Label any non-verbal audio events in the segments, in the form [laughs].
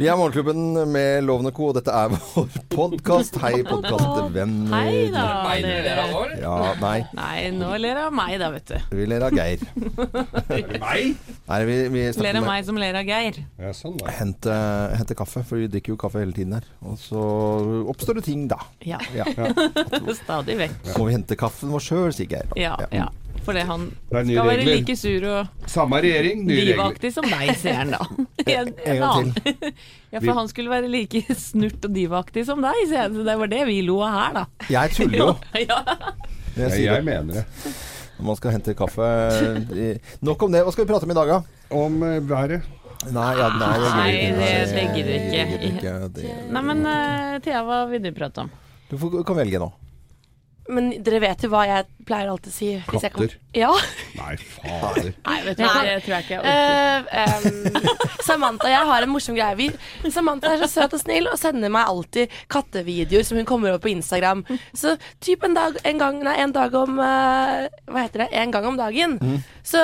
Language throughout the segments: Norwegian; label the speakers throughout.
Speaker 1: Vi er Morgenklubben med Lovende Co, og dette er [laughs] vår podkast. Hei, podkastvenner.
Speaker 2: Hei da,
Speaker 3: Beiner dere av
Speaker 2: dere.
Speaker 3: vår?
Speaker 1: Ja, nei,
Speaker 2: Nei, nå ler av meg, da, vet du.
Speaker 1: vi ler av Geir.
Speaker 3: Nei.
Speaker 1: Nei, vi, vi snakker
Speaker 2: Ler av
Speaker 1: om-
Speaker 2: meg som ler av Geir.
Speaker 3: Ja, sånn da.
Speaker 1: Hente, hente kaffe, for vi drikker jo kaffe hele tiden her. Og så oppstår det ting, da.
Speaker 2: Ja, [laughs]
Speaker 1: Ja.
Speaker 2: stadig vekk.
Speaker 1: Må vi hente kaffen vår sjøl, sier Geir.
Speaker 2: Ja, ja. Fordi han
Speaker 3: Det er nye
Speaker 2: skal være
Speaker 3: regler.
Speaker 2: like sur og
Speaker 3: Samme regjering, nye regler.
Speaker 2: divaktig som deg, sier han
Speaker 3: [laughs]
Speaker 2: da. [laughs] En,
Speaker 1: En gang
Speaker 2: annen. Ja, for han skulle være like [laughs] snurt og divaktig som deg, sier han. Så det var det vi lo av her, da.
Speaker 1: Jeg tuller jo.
Speaker 2: [laughs] Ja.
Speaker 1: når Jeg
Speaker 3: Ja,
Speaker 1: sier
Speaker 3: jeg mener det.
Speaker 1: det. Man skal hente kaffe i- Nok om det. Hva skal vi prate om i dag, da?
Speaker 3: Om eh, været.
Speaker 1: Nei, ja, nei,
Speaker 2: Nei,
Speaker 1: jeg
Speaker 2: det- det gidder
Speaker 1: jeg
Speaker 2: ikke.
Speaker 1: gidder ikke. Det-
Speaker 2: Nei, men eh, Thea, hva vil du prate om?
Speaker 1: Du får, kan velge nå.
Speaker 4: Men dere vet jo hva jeg pleier alltid å si. hvis jeg kan-
Speaker 3: Klatter.
Speaker 4: Ja.
Speaker 3: Nei, fader.
Speaker 2: Nei, vet
Speaker 4: du hva,
Speaker 2: det
Speaker 4: det
Speaker 2: tror jeg ikke
Speaker 4: Eh, em, [laughs] Samantha og jeg har en morsom greie. Vi, Samantha er så søt og snill og sender meg alltid kattevideoer som hun kommer over på Instagram. Så typ en dag, en gang, nei, en dag om eh, Hva heter det? En gang om dagen. Så,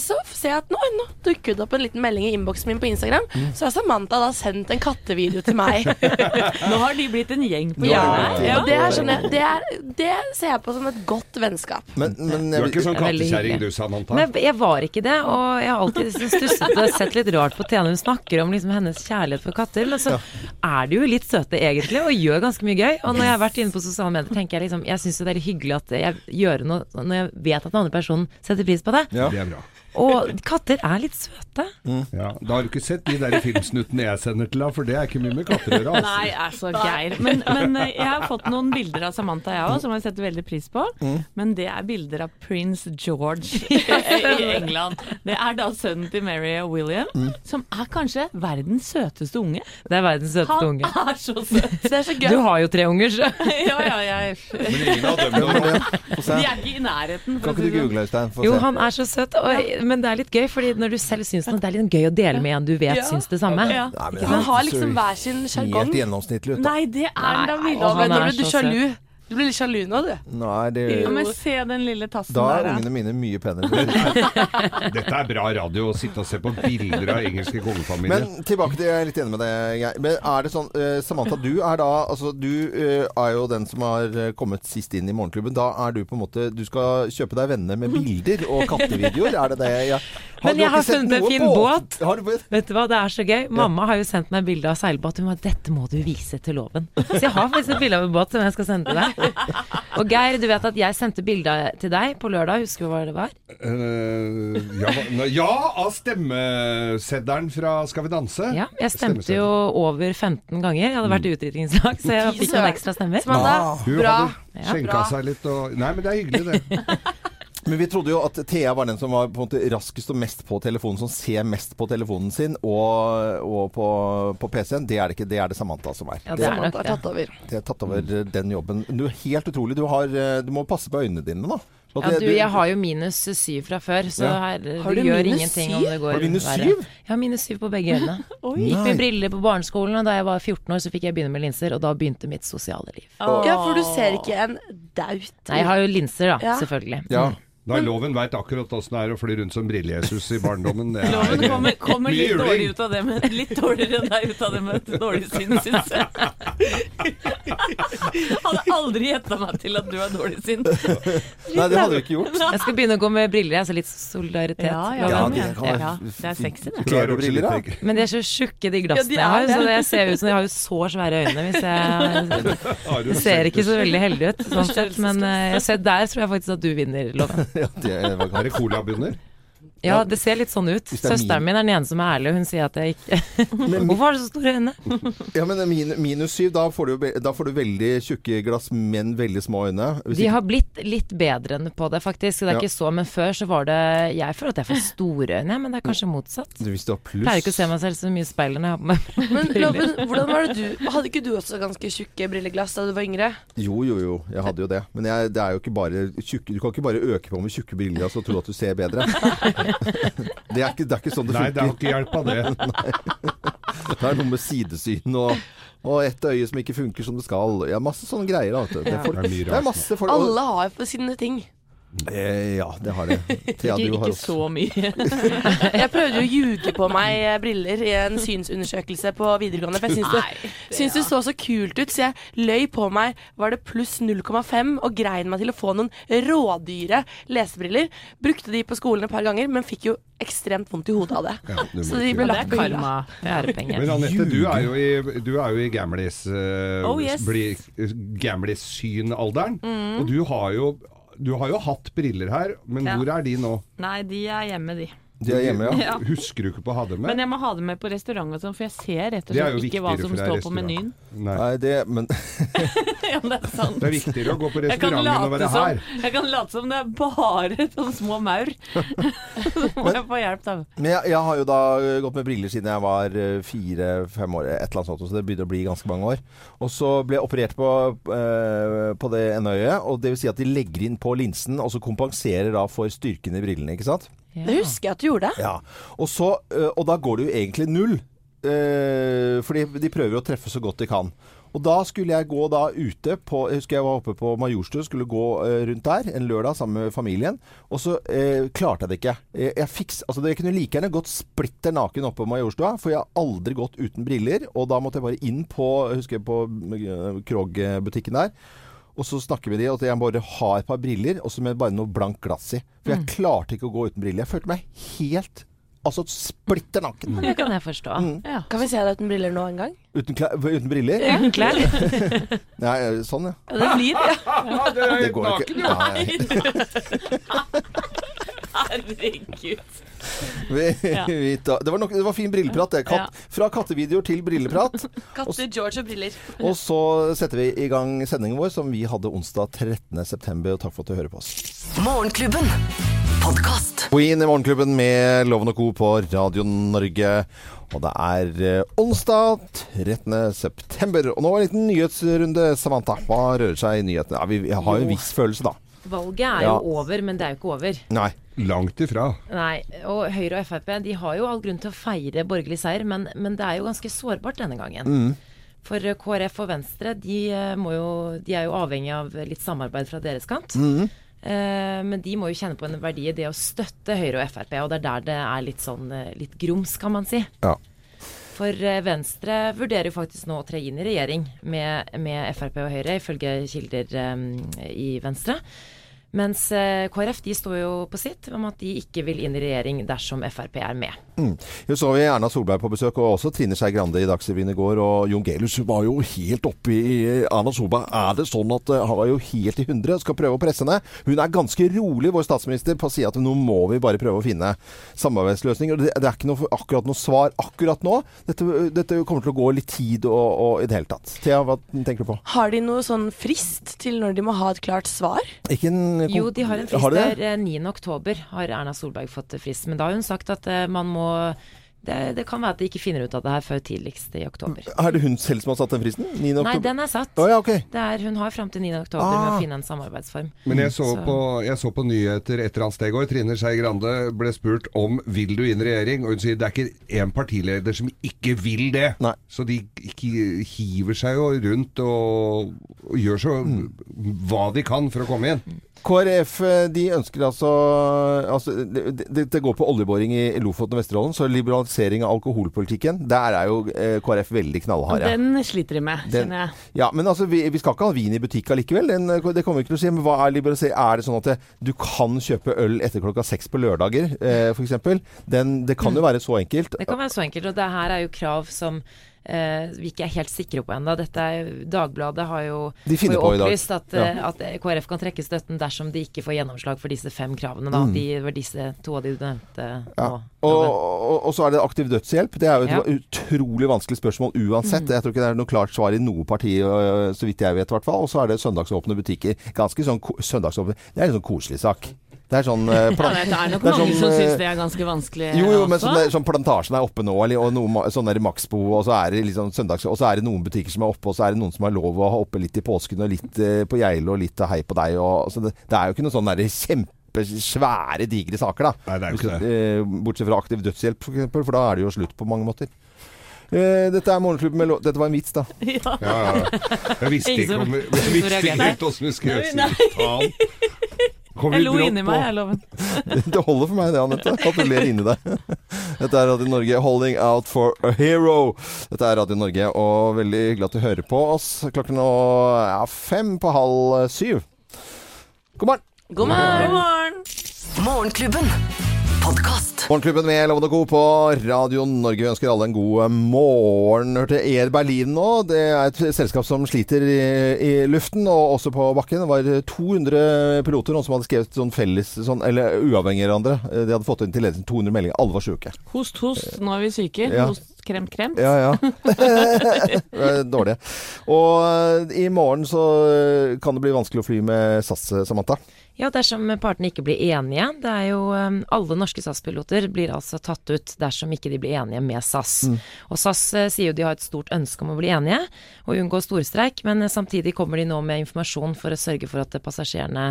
Speaker 4: så ser jeg at nå, nå dukker det opp en liten melding i innboksen min på Instagram. Så har Samantha da sendt en kattevideo til meg.
Speaker 2: eh, Nå har de blitt en gjeng på
Speaker 1: Ja,
Speaker 2: hjørnet. her.
Speaker 1: ja.
Speaker 4: Og det, er sånn, jeg- det, er, det ser jeg på som et godt vennskap.
Speaker 1: Men, men
Speaker 3: Du er ikke sånn
Speaker 5: Det er veldig
Speaker 3: kattekjerring du,
Speaker 5: hyggelig.
Speaker 3: Samantha.
Speaker 5: Nei, jeg var ikke det, og jeg har alltid liksom stusset og sett litt rart på Thea når hun snakker om liksom hennes kjærlighet for katter, men så er de jo litt søte egentlig, og gjør ganske mye gøy. Og når jeg har vært inne på sosiale medier, tenker jeg liksom, jeg syns jo det er hyggelig at jeg gjør noe når jeg vet at den andre personen setter pris på det.
Speaker 1: Ja.
Speaker 3: Det er bra.
Speaker 5: Og katter er litt søte.
Speaker 3: Ja, da har du ikke sett de der filmsnuttene jeg sender til deg, for det er ikke mye med katter å gjøre. altså.
Speaker 2: Nei, altså Geir. Men, men eh, jeg har fått noen bilder av Samantha, jeg òg, som jeg setter veldig pris på.
Speaker 1: Mm.
Speaker 2: Men det er bilder av prins
Speaker 5: [laughs]
Speaker 2: George i i England. Det er da sønnen til Mary og William,
Speaker 1: Mm.
Speaker 2: som er kanskje verdens søteste unge.
Speaker 5: Det er verdens søteste
Speaker 2: Han
Speaker 5: unge.
Speaker 2: er så søt!
Speaker 4: Så
Speaker 5: [laughs]
Speaker 4: det er så gøy.
Speaker 5: Du har jo tre unger, så.
Speaker 2: Ja, ja, jeg De
Speaker 1: Få
Speaker 5: [laughs]
Speaker 1: se.
Speaker 2: er ikke i nærheten.
Speaker 1: Kan
Speaker 2: For å
Speaker 1: ikke du
Speaker 2: si det sånn.
Speaker 1: google, Øystein? Få
Speaker 5: Jo,
Speaker 1: se.
Speaker 5: han er så søt, og, men det er litt gøy, fordi når du selv syns noe, det er litt gøy å dele med en du vet
Speaker 4: Ja.
Speaker 5: syns det samme.
Speaker 2: Ja.
Speaker 1: Nei, men
Speaker 4: Man
Speaker 1: han
Speaker 4: har
Speaker 1: ser
Speaker 4: liksom hver sin
Speaker 1: Helt
Speaker 4: sjargong.
Speaker 1: gjennomsnittlig ut, da.
Speaker 2: Nei, det er da
Speaker 5: Nei,
Speaker 2: vildt.
Speaker 5: og han
Speaker 4: Nå
Speaker 5: er
Speaker 4: ble du
Speaker 5: så søt.
Speaker 4: sjalu. Du blir litt sjalu nå, du.
Speaker 1: Nei, det
Speaker 2: Ja, men se den lille tassen
Speaker 1: Da
Speaker 5: sånn
Speaker 1: er
Speaker 2: der.
Speaker 1: ungene mine mye penere.
Speaker 5: [laughs]
Speaker 3: Dette er bra radio, å sitte og se på bilder av engelske kongefamilier.
Speaker 1: Men tilbake til Jeg er litt enig med deg, Geir. Men er det sånn eh, Samantha, du er da Altså, du eh, er jo den som har eh, kommet sist inn i Morgenklubben. Da er du på en måte Du skal kjøpe deg venner med bilder
Speaker 5: [laughs]
Speaker 1: og kattevideoer. Er det det? Ja.
Speaker 5: Men
Speaker 1: du
Speaker 5: jeg har
Speaker 1: ikke sett
Speaker 5: funnet en
Speaker 1: noe
Speaker 5: fin
Speaker 1: på-
Speaker 5: båt.
Speaker 1: Har du båt?
Speaker 5: Vet du hva, det er så gøy. Mamma har jo sendt meg bilde av seilbåt. Hun var 'dette må du vise til loven'. Så jeg har faktisk et bilde av en båt som jeg skal sende til deg. Og Geir, du vet at jeg sendte bilde til deg på lørdag, husker du hva det var?
Speaker 3: Eh, ja, hva- ja, av stemmeseddelen fra Skal vi danse.
Speaker 5: Ja, jeg stemte
Speaker 3: Stemmeseddelen.
Speaker 5: jo over 15 ganger. Jeg hadde vært i utdrikningslag, så jeg fikk noen ekstra stemmer.
Speaker 4: Samantha,
Speaker 3: Hun
Speaker 4: bra.
Speaker 3: hadde
Speaker 5: Ja.
Speaker 3: skjenka
Speaker 4: Bra.
Speaker 3: seg litt og Nei, men det er hyggelig, det.
Speaker 1: Men vi trodde jo at Thea var den som var på en måte raskest og mest på telefonen, som ser mest på telefonen sin og, og på, på PC-en. Det er det ikke. Det er det Samantha som er.
Speaker 5: Ja, det
Speaker 1: det,
Speaker 5: er nok
Speaker 4: Samantha har
Speaker 5: det.
Speaker 4: tatt over.
Speaker 1: det er tatt over eh, den jobben. Du, helt utrolig. Du, har, eh, du må passe på øynene dine, da. For at
Speaker 5: Ja,
Speaker 1: det-
Speaker 5: du, jeg har jo minus syv fra før, så
Speaker 1: Ja.
Speaker 5: her, det
Speaker 4: Har du
Speaker 5: gjør
Speaker 4: minus
Speaker 5: ingenting
Speaker 4: syv?
Speaker 5: om det går
Speaker 1: Har du minus
Speaker 5: verre.
Speaker 1: syv?
Speaker 5: Jeg har minus syv på begge øynene.
Speaker 1: [laughs]
Speaker 5: Gikk
Speaker 1: Nei.
Speaker 5: med briller på barneskolen, og da jeg var 14 år, så fikk jeg begynne med linser, og da begynte mitt sosiale liv.
Speaker 4: Ja, for du ser ikke en daut.
Speaker 5: Nei, jeg har jo linser, da,
Speaker 4: Ja.
Speaker 5: selvfølgelig.
Speaker 1: Ja.
Speaker 3: Da loven veit akkurat åssen det er å fly rundt som brillejesus i barndommen. Det er,
Speaker 2: Loven kommer, kommer litt
Speaker 3: Mye
Speaker 2: dårlig
Speaker 3: juling.
Speaker 2: ut av det, men litt dårligere enn deg ut av det med et dårlig sinn, syns
Speaker 3: [laughs]
Speaker 2: jeg. Hadde aldri gjetta meg til at du har dårlig sinn.
Speaker 1: Nei, det hadde du ikke
Speaker 5: [laughs]
Speaker 1: gjort.
Speaker 5: Jeg skal begynne å gå med briller, altså litt solidaritet.
Speaker 1: Ja,
Speaker 2: men-
Speaker 1: det kan være-
Speaker 2: ja, det er sexy, det.
Speaker 3: Du har også
Speaker 1: Kleberbriller,
Speaker 3: litt
Speaker 1: da.
Speaker 2: [laughs]
Speaker 3: egg.
Speaker 5: Men de er så tjukke, de
Speaker 2: Ja,
Speaker 5: glassene
Speaker 2: de er
Speaker 5: jeg har. Så
Speaker 2: det.
Speaker 5: jeg ser ut som de har jo så svære øyne. Hvis jeg
Speaker 3: Har [laughs] du
Speaker 5: jeg ser ikke så
Speaker 3: sett-
Speaker 5: veldig heldig ut, sånn sett. Men eh, jeg ser, der tror jeg faktisk at du vinner, Loven.
Speaker 1: [laughs] Ja, det var
Speaker 3: Er det colabunner?
Speaker 5: Ja, det ser litt sånn ut.
Speaker 1: det er min-
Speaker 5: Søsteren min er den ene som er ærlig, og hun sier at jeg ikke Hvorfor har du så store øyne?
Speaker 1: Ja, men min, minus syv, da får, du, be- da får du veldig tjukke glass, men veldig små øyne. Hvis
Speaker 5: [laughs] De
Speaker 1: ikke-
Speaker 5: har blitt litt bedre enn på det, faktisk. Det er
Speaker 1: Ja.
Speaker 5: ikke så, men før så var det Jeg føler at jeg får store øyne, men det er kanskje motsatt.
Speaker 1: Du, hvis du har pluss
Speaker 5: Pleier ikke å se meg selv så mye i speilet når jeg har på meg
Speaker 4: Men Loven, hvordan var det du Hadde ikke du også ganske tjukke brilleglass da du var yngre?
Speaker 1: Jo, jo, jo. Jeg hadde jo det. Men jeg, det er jo ikke bare tjukke Du kan ikke bare øke på med tjukke briller altså, og tro at du ser bedre. det, er ikke, det er ikke sånn det
Speaker 3: Nei, det har
Speaker 1: funker.
Speaker 3: ikke hjelp av det.
Speaker 1: Det er noe med sidesyn og, og et øye som ikke funker som det skal. Ja, masse sånne greier. Da, vet du. Det, er folk,
Speaker 3: Det er mye
Speaker 1: det
Speaker 3: rart.
Speaker 1: er masse folk og-
Speaker 4: Alle har jo på sine ting.
Speaker 1: Eh, ja, det har det. Thea,
Speaker 2: Ikke,
Speaker 1: du har
Speaker 2: ikke
Speaker 1: også.
Speaker 2: så mye. [laughs]
Speaker 4: Jeg prøvde jo å ljuge på meg eh, briller i en synsundersøkelse på videregående. For jeg syns det, syns det så så kult ut, så jeg løy på meg. Var det pluss 0,5 og grein meg til å få noen rådyre lesebriller. Brukte de på skolen et par ganger, men fikk jo ekstremt vondt i hodet av det.
Speaker 3: Ja, du må
Speaker 4: så de
Speaker 3: ikke-
Speaker 4: ble
Speaker 2: Det er
Speaker 4: lagt på hylla.
Speaker 2: karma. Det er
Speaker 3: Men
Speaker 2: penger.
Speaker 3: Anette, du er jo i, du er jo i gamlis, eh,
Speaker 2: Oh, yes. Mm.
Speaker 3: bli- gamlis-synalderen. Og du har, jo, du har jo hatt briller her, men
Speaker 2: Ja.
Speaker 3: hvor er de nå?
Speaker 2: Nei, de er hjemme, de.
Speaker 1: De er hjemme, ja.
Speaker 2: [laughs] Ja.
Speaker 3: Husker du ikke på å ha dem med?
Speaker 2: Men jeg må ha dem med på restaurant og sånn, for jeg ser rett og
Speaker 3: Det er jo
Speaker 2: slett ikke hva
Speaker 3: viktigere
Speaker 2: som
Speaker 3: for deg
Speaker 2: står på
Speaker 3: restaurant.
Speaker 2: menyen.
Speaker 3: Nei.
Speaker 1: Nei, det, men
Speaker 2: [laughs] Ja, men det er sant.
Speaker 3: Det er viktigere å gå på
Speaker 2: Jeg kan,
Speaker 3: restauranten enn
Speaker 2: late
Speaker 3: å være
Speaker 2: som,
Speaker 3: her.
Speaker 2: [laughs] jeg kan late som det er bare sånne små
Speaker 3: [laughs]
Speaker 2: maur. Så må jeg få hjelp, da.
Speaker 1: Men jeg, jeg har jo da ø, gått med briller siden jeg var fire-fem år, et eller annet sånt, så det begynte å bli ganske mange år. Og så ble jeg operert på, ø, på det ene øyet, og det vil si at de legger inn på linsen, og så kompenserer da for styrken i brillene, ikke sant?
Speaker 4: Det husker jeg at du gjorde.
Speaker 1: Ja. Og, så, ø, og da går det jo egentlig null, ø, fordi de prøver å treffe så godt de kan. Og da skulle jeg gå da ute på Jeg husker jeg var oppe på Majorstua, skulle gå ø, rundt der en lørdag sammen med familien. Og så ø, klarte jeg det ikke. Jeg, jeg, fiks, altså, jeg kunne like gjerne gått splitter naken oppe på Majorstua, for jeg har aldri gått uten briller. Og da måtte jeg bare inn på jeg husker jeg på ø, Krog-butikken der. Og så snakker vi med de at jeg bare har et par briller, og så med bare noe blankt glass i. For jeg klarte ikke å gå uten briller. Jeg følte meg helt Altså splitter naken.
Speaker 5: Det kan jeg forstå.
Speaker 4: Kan vi se deg uten briller nå en gang?
Speaker 1: Uten, klær, uten briller.
Speaker 5: Uten klær.
Speaker 1: Nei, sånn, ja.
Speaker 4: Ja, det blir ja.
Speaker 3: Ah, det er
Speaker 1: Det
Speaker 3: helt
Speaker 1: går jo
Speaker 3: naken.
Speaker 1: ikke. Nei.
Speaker 2: [laughs] Herregud.
Speaker 1: Vi, [laughs]
Speaker 2: Ja.
Speaker 1: vi tar- det, var nok, det var fin brilleprat, det. Katt, fra kattevideoer til brilleprat.
Speaker 4: Katter, George og briller.
Speaker 1: Og så setter vi i gang sendingen vår, som vi hadde onsdag 13.9. Og takk for at du hører på oss.
Speaker 6: Morgenklubben. Podkast.
Speaker 1: Queen i Morgenklubben med Loven og Co. på Radio Norge. Og det er eh, onsdag 13. september. Og nå en liten nyhetsrunde. Samantha, hva rører seg i nyhetene? Ja, vi, vi har jo en viss følelse, da.
Speaker 5: Valget er
Speaker 1: Ja.
Speaker 5: jo over, men det er jo ikke over.
Speaker 1: Nei.
Speaker 3: Langt ifra.
Speaker 5: Nei, og Høyre og Frp de har jo all grunn til å feire borgerlig seier, men, men det er jo ganske sårbart denne gangen. For eh, KrF og Venstre de, eh, må jo, de er jo avhengig av litt samarbeid fra deres kant. Eh, men de må jo kjenne på en verdi i det å støtte Høyre og Frp, og det er der det er litt sånn eh, litt grums, kan man si.
Speaker 1: Ja.
Speaker 5: For eh, Venstre vurderer jo faktisk nå å tre inn i regjering med, med Frp og Høyre, ifølge kilder eh, i Venstre. Mens eh, KrF de står jo på sitt om at de ikke vil inn i regjering dersom Frp er med.
Speaker 1: Jo, så vi Erna Solberg på besøk, og også Trine Skei Grande i Dagsrevyen i går. Og Jon Gelius var jo helt oppe i Erna Solberg. Er det sånn at eh, han var jo helt i hundre? Skal prøve å presse henne. Hun er ganske rolig, vår statsminister, på å si at nå må vi bare prøve å finne samarbeidsløsninger. Og Det, det er ikke noe, akkurat noe svar akkurat nå. Dette, dette kommer til å gå litt tid og, og i det hele tatt. Thea, hva tenker du på?
Speaker 4: Har de noe sånn frist til når de må ha et klart svar?
Speaker 1: Ikke en
Speaker 5: Jo, de har en frist
Speaker 1: de det?
Speaker 5: der. eh, 9. oktober har Erna Solberg fått eh, frist. Men da har hun sagt at eh, man må det, det kan være at de ikke finner ut av det her før tidligst i oktober.
Speaker 1: Er det hun selv som har satt den fristen? 9.
Speaker 5: Nei,
Speaker 1: oktober?
Speaker 5: den er satt.
Speaker 1: Å ja, ok.
Speaker 5: Det er, hun har fram til 9. oktober med
Speaker 1: Ah.
Speaker 5: å finne en samarbeidsform.
Speaker 3: Men
Speaker 2: Mm,
Speaker 3: jeg så, på, jeg så på nyheter et eller annet sted i går. Trine Skei Grande ble spurt om vil du inn i regjering, og hun sier det er ikke én partileder som ikke vil det.
Speaker 1: Nei.
Speaker 3: Så de ki- hiver seg jo rundt og, og gjør så hva de kan for å komme inn.
Speaker 1: KrF eh, de ønsker altså, altså det, det, det går på oljeboring i Lofoten og Vesterålen, så liberalisering av alkoholpolitikken, der er jo eh, KrF veldig knallharde.
Speaker 2: Den sliter de med,
Speaker 1: Den-
Speaker 2: kjenner jeg.
Speaker 1: Ja, men altså, vi, vi skal ikke ha vin i butikk allikevel. Den, eh, det kommer vi ikke til å si. Men hva er liberalisering? Er det sånn at det, du kan kjøpe øl etter klokka seks på lørdager, eh, f.eks.? Det kan jo være så enkelt.
Speaker 5: Det kan være så enkelt, og det her er jo krav som eh, vi ikke er helt sikre på ennå. Dette er- Dagbladet har jo,
Speaker 1: De finner på
Speaker 5: har jo
Speaker 1: i dag.
Speaker 5: opplyst at, eh, at KrF kan trekke støtten dersom de ikke får gjennomslag for disse fem kravene. Da. De var disse to av de du nevnte
Speaker 1: Mm. Ja.
Speaker 5: nå.
Speaker 1: Og, og, og så er det aktiv dødshjelp. Det er jo et
Speaker 5: Ja.
Speaker 1: utrolig vanskelig spørsmål uansett. Jeg tror ikke det er noe klart svar i noe parti, øh, så vidt jeg vet i hvert fall. Og så er det søndagsåpne butikker. Ganske sånn ko- søndagsåpne Det er en sånn koselig sak. Det er sånn øh,
Speaker 2: Ja,
Speaker 1: plan-
Speaker 2: det er nok
Speaker 1: Det er
Speaker 2: mange
Speaker 1: sånn,
Speaker 2: som
Speaker 1: eh,
Speaker 2: syns det er ganske vanskelig
Speaker 1: jo, jo, men sånn,
Speaker 2: også.
Speaker 1: der- sånn plantasjen er oppe nå, eller, og noe, ma- sånn der Maxbo, og så, er det liksom søndags, og så er det noen butikker som er oppe, og så er det noen som har lov å ha oppe litt i påsken, og litt eh, på Geilo, og litt hei på deg, og så det, det er jo ikke noe sånn derre kjempesvære, digre saker, da.
Speaker 3: Nei, det er jo ikke
Speaker 1: Eh, Bortsett fra aktiv dødshjelp, for eksempel, for da er det jo slutt på mange måter. Eh, Dette er Morgenklubben med lov... Dette var en vits, da.
Speaker 2: [laughs] Ja.
Speaker 3: Ja, ja. Jeg visste
Speaker 2: Ingen
Speaker 3: ikke
Speaker 2: som-
Speaker 3: om
Speaker 2: ingen som
Speaker 3: Jeg visste ikke
Speaker 2: reagerte.
Speaker 3: helt åssen vi skulle
Speaker 2: Nei.
Speaker 3: gjøre det. Kommer
Speaker 2: Jeg
Speaker 3: vi
Speaker 2: lo
Speaker 3: brått
Speaker 2: inni
Speaker 3: på-
Speaker 2: meg, jeg loven.
Speaker 1: [laughs] Det holder for meg det, Anette. At du ler inni deg. [laughs] Dette er Radio Norge, 'Holding Out for a Hero'. Dette er Radio Norge, og veldig hyggelig at du hører på oss. Klokken nå er fem på halv syv. God morgen!
Speaker 4: God morgen.
Speaker 6: Morgenklubben. Podkast.
Speaker 1: Morgenklubben med Lovende Co. på Radio Norge. Vi ønsker alle en god eh, morgen. Hørte Air Berlin nå. Det er et selskap som sliter i, i luften, og også på bakken. Det var 200 piloter noen som hadde skrevet sånn felles, sånn, eller uavhengig av hverandre. Eh, De hadde fått inn til ledelsen 200 meldinger. Alle var sjuke.
Speaker 2: Host, host, nå er vi syke.
Speaker 1: Ja.
Speaker 2: Host, krem, krem.
Speaker 1: Ja, ja. Det er Dårlig. Og eh, i morgen så eh, kan det bli vanskelig å fly med SAS, eh, Samantha.
Speaker 5: Ja, dersom partene ikke blir enige. Det er jo um, Alle norske SAS-piloter blir altså tatt ut dersom ikke de blir enige med SAS. Og SAS eh, sier jo de har et stort ønske om å bli enige og unngå storstreik, men eh, samtidig kommer de nå med informasjon for å sørge for at eh, passasjerene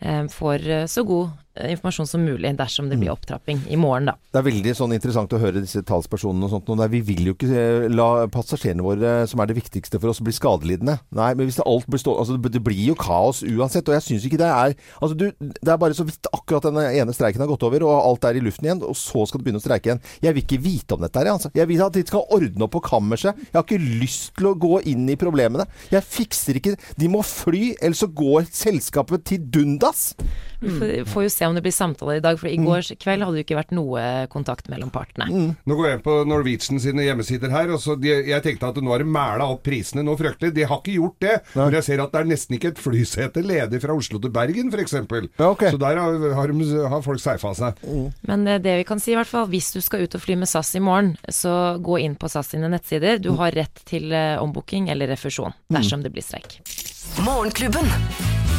Speaker 5: eh, får eh, så god eh, informasjon som mulig dersom det blir opptrapping i morgen, da.
Speaker 1: Det er veldig sånn interessant å høre disse talspersonene og sånt. nå. Nei, vi vil jo ikke eh, la passasjerene våre, som er det viktigste for oss, bli skadelidende. Nei, men hvis det alt blir stå... Altså, det- det blir jo kaos uansett. Og jeg syns ikke det er Altså, du, det er bare så vidt akkurat den ene streiken har gått over, og alt er i luften igjen, og så skal det begynne å streike igjen. Jeg vil ikke vite om dette her, jeg, altså. Jeg vil at de skal ordne opp på kammerset. Jeg har ikke lyst til å gå inn i problemene. Jeg fikser ikke De må fly, ellers så går selskapet til dundas.
Speaker 5: Vi får- får jo se om det blir samtaler i dag, for i går kveld hadde det jo ikke vært noe kontakt mellom partene.
Speaker 3: Nå går jeg inn på Norwegian sine hjemmesider her, og så de, jeg tenkte at nå har de mæla opp prisene noe fryktelig. De har ikke gjort det, men jeg ser at det er nesten ikke et flysete ledig fra Oslo til Bergen, f.eks.
Speaker 1: Ja, ok. Mm.
Speaker 3: Så der har, har, de, har folk seifa seg.
Speaker 5: Men eh, det vi kan si i hvert fall, hvis du skal ut og fly med SAS i morgen, så gå inn på SAS sine nettsider. Du har rett til eh, ombooking eller refusjon dersom det blir streik.
Speaker 6: Morgenklubben.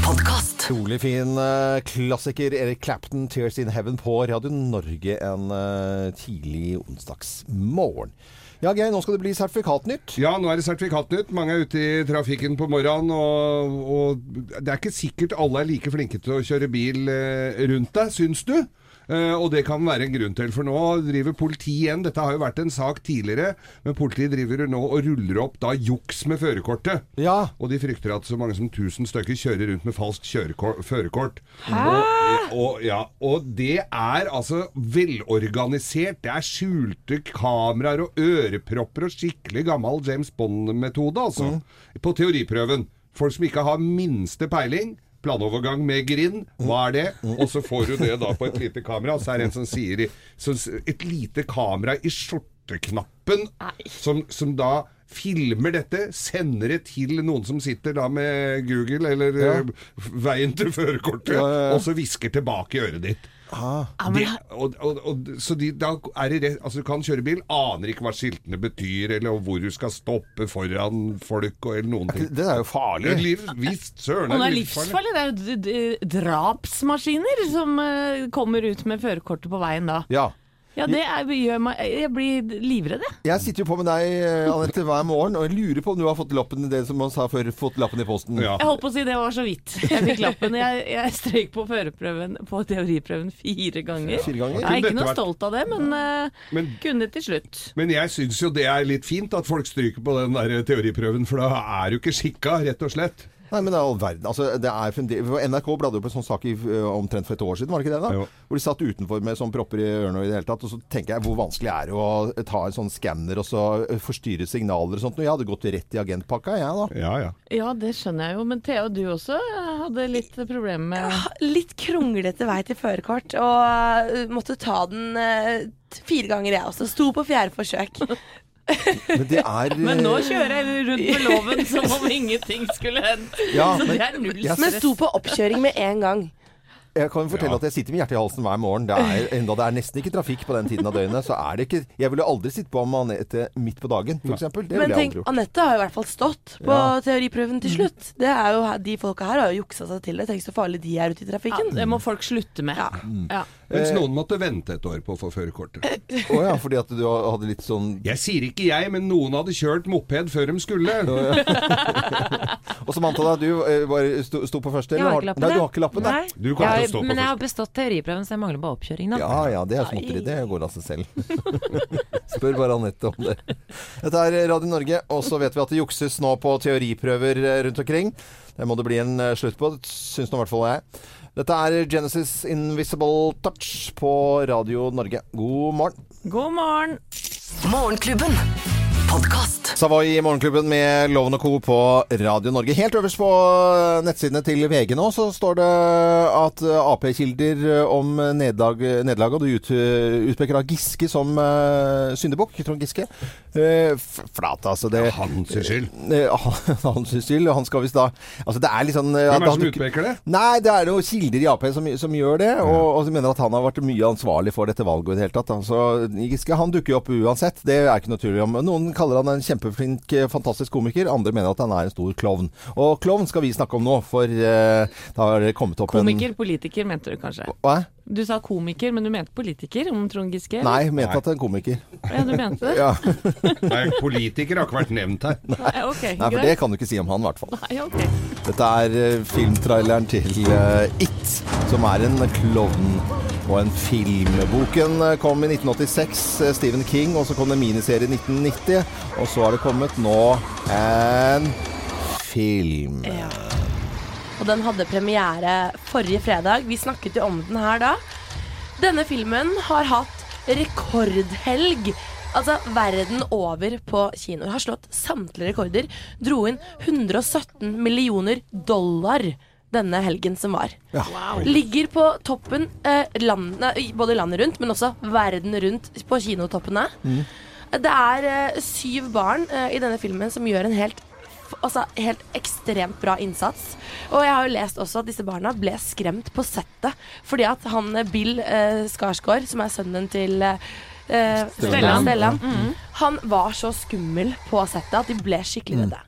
Speaker 6: Podkast.
Speaker 1: Utrolig fin eh, klassiker. Erik Clapton, 'Tears In Heaven' på Radio Norge en eh, tidlig onsdagsmorgen. Ja, Geir, nå skal det bli sertifikatnytt.
Speaker 3: Ja, nå er det sertifikatnytt. Mange er ute i trafikken på morgenen, og, og det er ikke sikkert alle er like flinke til å kjøre bil eh, rundt deg, syns du? Eh, og det kan være en grunn til, for nå driver politiet igjen. Dette har jo vært en sak tidligere, men politiet driver jo nå og ruller opp da juks med førerkortet.
Speaker 1: Ja.
Speaker 3: Og de frykter at så mange som 1000 stykker kjører rundt med falskt kjørekor- førerkort. Og, og, ja, og det er altså velorganisert. Det er skjulte kameraer og ørepropper og skikkelig gammel James Bond-metode, altså. På teoriprøven. Folk som ikke har minste peiling. Planovergang med grind, hva er det? Og så får du det da på et lite kamera. Så er det en som sier i, så, Et lite kamera i skjorteknappen som, som da filmer dette, sender det til noen som sitter da med Google eller
Speaker 1: Ja.
Speaker 3: eh, veien til førerkortet,
Speaker 1: Ja, ja, Ah. ja.
Speaker 3: og så hvisker tilbake i øret ditt. Det, og, og, og, så de, da er det rett, altså du kan kjøre bil, aner ikke hva skiltene betyr, eller hvor du skal stoppe foran folk, og, eller noen ting.
Speaker 1: Det er jo farlig.
Speaker 3: Det er liv, visst, søren
Speaker 2: Og det
Speaker 3: er
Speaker 2: er
Speaker 3: det livsfarlig.
Speaker 2: livsfarlig. Det er jo d- d- drapsmaskiner som eh, kommer ut med førerkortet på veien da.
Speaker 1: Ja.
Speaker 2: Ja, det er, gjør meg Jeg blir livredd, jeg.
Speaker 1: Jeg sitter jo på med deg, eh, Anette, hver morgen, og jeg lurer på om du har fått lappen det som man sa før, fått lappen i posten.
Speaker 3: Ja.
Speaker 2: Jeg holdt på å si det var så vidt. Jeg fikk lappen. Jeg, jeg strøyk på førerprøven på teoriprøven fire ganger.
Speaker 1: Fire ganger?
Speaker 2: Jeg er ikke
Speaker 3: Kunne
Speaker 2: noe
Speaker 3: dette vært-
Speaker 2: stolt av det, men, eh,
Speaker 3: Men-
Speaker 2: kunne til slutt.
Speaker 3: Men jeg syns jo det er litt fint at folk stryker på den der teoriprøven, for da er du ikke skikka, rett og slett.
Speaker 1: Nei, men det er all verden. Altså, det er funder- for NRK bladde jo på en sånn sak i, ø, omtrent for et år siden, var det ikke det? da?
Speaker 3: Jo.
Speaker 1: Hvor de satt utenfor med sånn propper i ørene og i det hele tatt. Og så tenker jeg hvor vanskelig er det å ta en sånn skanner og så ø, forstyrre signaler og sånt. Og jeg hadde gått rett i agentpakka, jeg da.
Speaker 3: Ja, ja.
Speaker 2: Ja, det skjønner jeg jo. Men Thea, du også eh, hadde litt problemer med
Speaker 4: Litt kronglete vei til førerkort, og eh, måtte ta den eh, t- fire ganger jeg også. Sto på fjerde forsøk.
Speaker 1: Men det er
Speaker 2: Men nå kjører jeg rundt med loven som om ingenting skulle hendt.
Speaker 1: eh, Ja,
Speaker 2: så [laughs]
Speaker 1: men-
Speaker 2: det er null
Speaker 1: Jeg-
Speaker 2: stress.
Speaker 4: Men sto på oppkjøring med en gang.
Speaker 1: Jeg kan jo fortelle at jeg sitter med hjertet i halsen hver morgen. Det er, enda det er nesten ikke trafikk på den tiden av døgnet, så er det ikke Jeg ville aldri sitte på med Anette midt på dagen, f.eks. Det ville
Speaker 4: Men
Speaker 1: jeg
Speaker 4: tenk,
Speaker 1: aldri gjort.
Speaker 4: Anette har jo i hvert fall stått på
Speaker 1: Ja. Mm.
Speaker 4: teoriprøven til slutt. Det er jo, De folka her har jo juksa seg til det. Tenk så farlig de er ute i
Speaker 2: Ja,
Speaker 4: trafikken.
Speaker 2: det må folk slutte med.
Speaker 4: Ja.
Speaker 2: Ja.
Speaker 3: Mens noen måtte vente et år på å få førerkortet.
Speaker 1: Å ja, fordi at du hadde litt sånn
Speaker 3: Jeg sier ikke jeg, men noen hadde kjørt moped før de skulle.
Speaker 1: Og Samantha, da, du ø, var, sto, sto på første?
Speaker 5: Jeg har
Speaker 1: eller
Speaker 5: ikke
Speaker 1: Nei,
Speaker 5: lappen, jeg.
Speaker 1: du har ikke lappen, nei.
Speaker 5: Nei.
Speaker 3: Du kommer til å
Speaker 5: Jeg-
Speaker 3: stå på
Speaker 5: Men
Speaker 3: først.
Speaker 5: jeg har bestått teoriprøven, så jeg mangler bare oppkjøring, da.
Speaker 1: Ja ja, det er småtteri. Det går av seg selv. [laughs] Spør bare Anette om det. Dette er Radio Norge, og så vet vi at det jukses nå på teoriprøver eh, rundt omkring. Det må det bli en eh, slutt på, syns nå i hvert fall jeg. Dette er Genesis Invisible Touch på Radio Norge. God morgen.
Speaker 2: God morgen!
Speaker 6: Morgenklubben. Podkast.
Speaker 1: Savoy i Morgenklubben med Loven og Co. på Radio Norge. Helt øverst på eh, nettsidene til VG nå så står det at eh, Ap-kilder om nederlag nederlaget, og du ut, eh, utpeker da Giske som uh, syndebukk. Trond Giske. Eh, f- flate, altså. Det,
Speaker 3: Hans skyld.
Speaker 1: Eh, [laughs] han synes skyld, og han skal visst da Altså, det er litt sånn eh, at
Speaker 3: Hvem er det
Speaker 1: han
Speaker 3: som
Speaker 1: dukker-
Speaker 3: utpeker det?
Speaker 1: Nei, det er noen kilder i Ap som, som gjør det, og, og som mener at han har vært mye ansvarlig for dette valget i det hele tatt. Altså, Giske han dukker jo opp uansett, det er ikke noe tvil om. Noen kaller han en kjempeflink, eh, fantastisk komiker, andre mener at han er en stor klovn. Og klovn skal vi snakke om nå, for eh, da har det kommet opp
Speaker 2: Komiker, politiker, mente du kanskje.
Speaker 1: en Hva?
Speaker 2: Du sa komiker, men du mente politiker om Trond Giske? eller?
Speaker 1: Nei, mente at det er en komiker.
Speaker 2: Ja, du mente det?
Speaker 1: [laughs] Ja.
Speaker 3: Nei, politiker har ikke vært nevnt her.
Speaker 2: Nei, ok,
Speaker 1: Nei, for det
Speaker 2: greit.
Speaker 1: kan du ikke si om han, i hvert fall.
Speaker 2: Nei, ok.
Speaker 1: Dette er eh, filmtraileren til eh, It, som er en klovn og en film. Boken eh, kom i 1986, eh, Stephen King, og så kom det en miniserie i 1990. Og så har det kommet nå en film.
Speaker 4: Og den hadde premiere forrige fredag. Vi snakket jo om den her da. Denne filmen har hatt rekordhelg. Altså verden over på kinoer. Har slått samtlige rekorder. Dro inn 117 millioner dollar denne helgen som var. Ligger på toppen eh, land, nei, både landet rundt, men også verden rundt på kinotoppene. Det er eh, syv barn eh, i denne filmen som gjør en helt f- Altså helt ekstremt bra innsats. Og jeg har jo lest også at disse barna ble skremt på settet. Fordi at han eh, Bill eh, Skarsgård, som er sønnen til eh, eh,
Speaker 2: Stellan.
Speaker 4: Stellan, han var så skummel på settet at de ble skikkelig redde.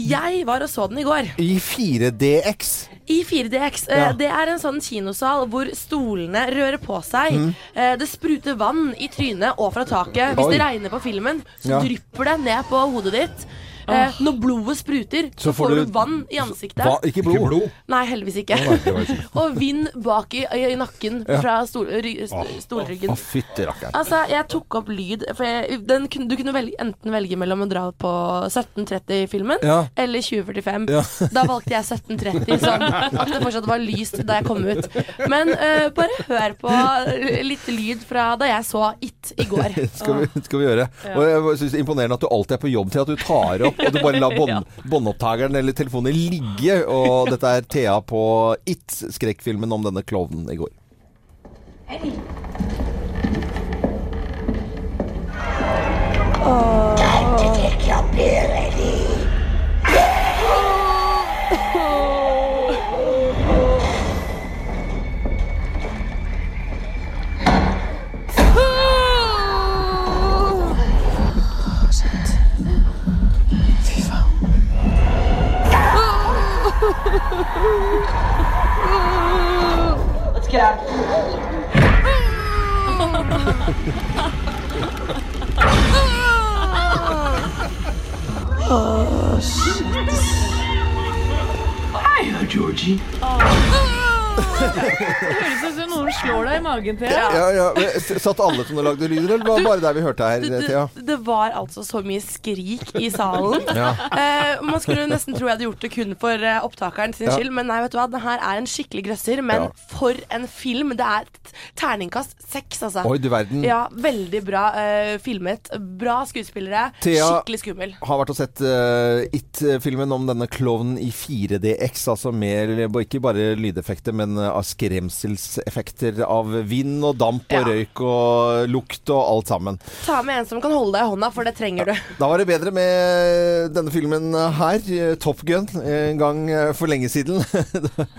Speaker 4: Jeg var og så den i går.
Speaker 1: I 4DX.
Speaker 4: I 4DX. eh,
Speaker 1: Ja.
Speaker 4: Det er en sånn kinosal hvor stolene rører på seg. Eh, Det spruter vann i trynet og fra taket. Hvis
Speaker 1: Oi.
Speaker 4: det regner på filmen, så
Speaker 1: Ja.
Speaker 4: drypper det ned på hodet ditt. Eh, Når blodet spruter, så,
Speaker 1: får
Speaker 4: får du,
Speaker 1: du-
Speaker 4: vann i ansiktet.
Speaker 1: Hva? Ikke blod?
Speaker 3: Ikke blod.
Speaker 4: Nei, heldigvis ikke.
Speaker 3: det var ikke-
Speaker 4: [laughs] og vind bak i, i nakken fra stol, ry, st- stolryggen.
Speaker 1: Å, fytti rakkeren.
Speaker 4: Altså, jeg tok opp lyd, for jeg, den, kun- du kunne velge, enten velge mellom å dra på 1730-filmen
Speaker 1: Ja.
Speaker 4: eller 2045. [laughs] Da valgte jeg 1730, sånn at det fortsatt var lyst da jeg kom ut. Men eh, bare hør på eh, litt lyd fra da jeg så It i går.
Speaker 1: [laughs] Skal vi, skal vi gjøre. Og jeg synes det er Imponerende at du alltid er på jobb til at du tar opp og du bare
Speaker 4: [laughs]
Speaker 1: lar bånd- båndopptakeren eller telefonen ligge. Og dette er Thea på It, skrekkfilmen om denne klovnen i går.
Speaker 2: Høres ut som noen slår deg i magen, Thea.
Speaker 1: Ja, ja, men s- Satt alle som lagde lyder, eller var det bare der vi hørte her,
Speaker 4: Det,
Speaker 1: Thea?
Speaker 4: det, det var altså så mye skrik i salen.
Speaker 1: [laughs] Ja.
Speaker 4: Eh, man skulle nesten tro jeg hadde gjort det kun for eh, opptakeren sin
Speaker 1: Ja.
Speaker 4: skyld, men nei, vet du hva. Den her er en skikkelig grøsser, men
Speaker 1: Ja.
Speaker 4: for en film. Det er t- terningkast seks, altså.
Speaker 1: Oi, du verden.
Speaker 4: Ja, veldig bra eh, filmet. Bra skuespillere.
Speaker 1: Thea-
Speaker 4: Skikkelig skummel.
Speaker 1: Har vært og sett eh, It-filmen om denne klovnen i 4DX. Altså mer, ikke bare lydeffekter, men eh, av skremselseffekter av vind og damp og
Speaker 4: Ja.
Speaker 1: røyk og lukt og alt sammen.
Speaker 4: Ta med en som kan holde deg i hånda, for det trenger du.
Speaker 1: Da var det bedre med denne filmen her, eh, Top Gun, en gang eh, for lenge siden. [laughs]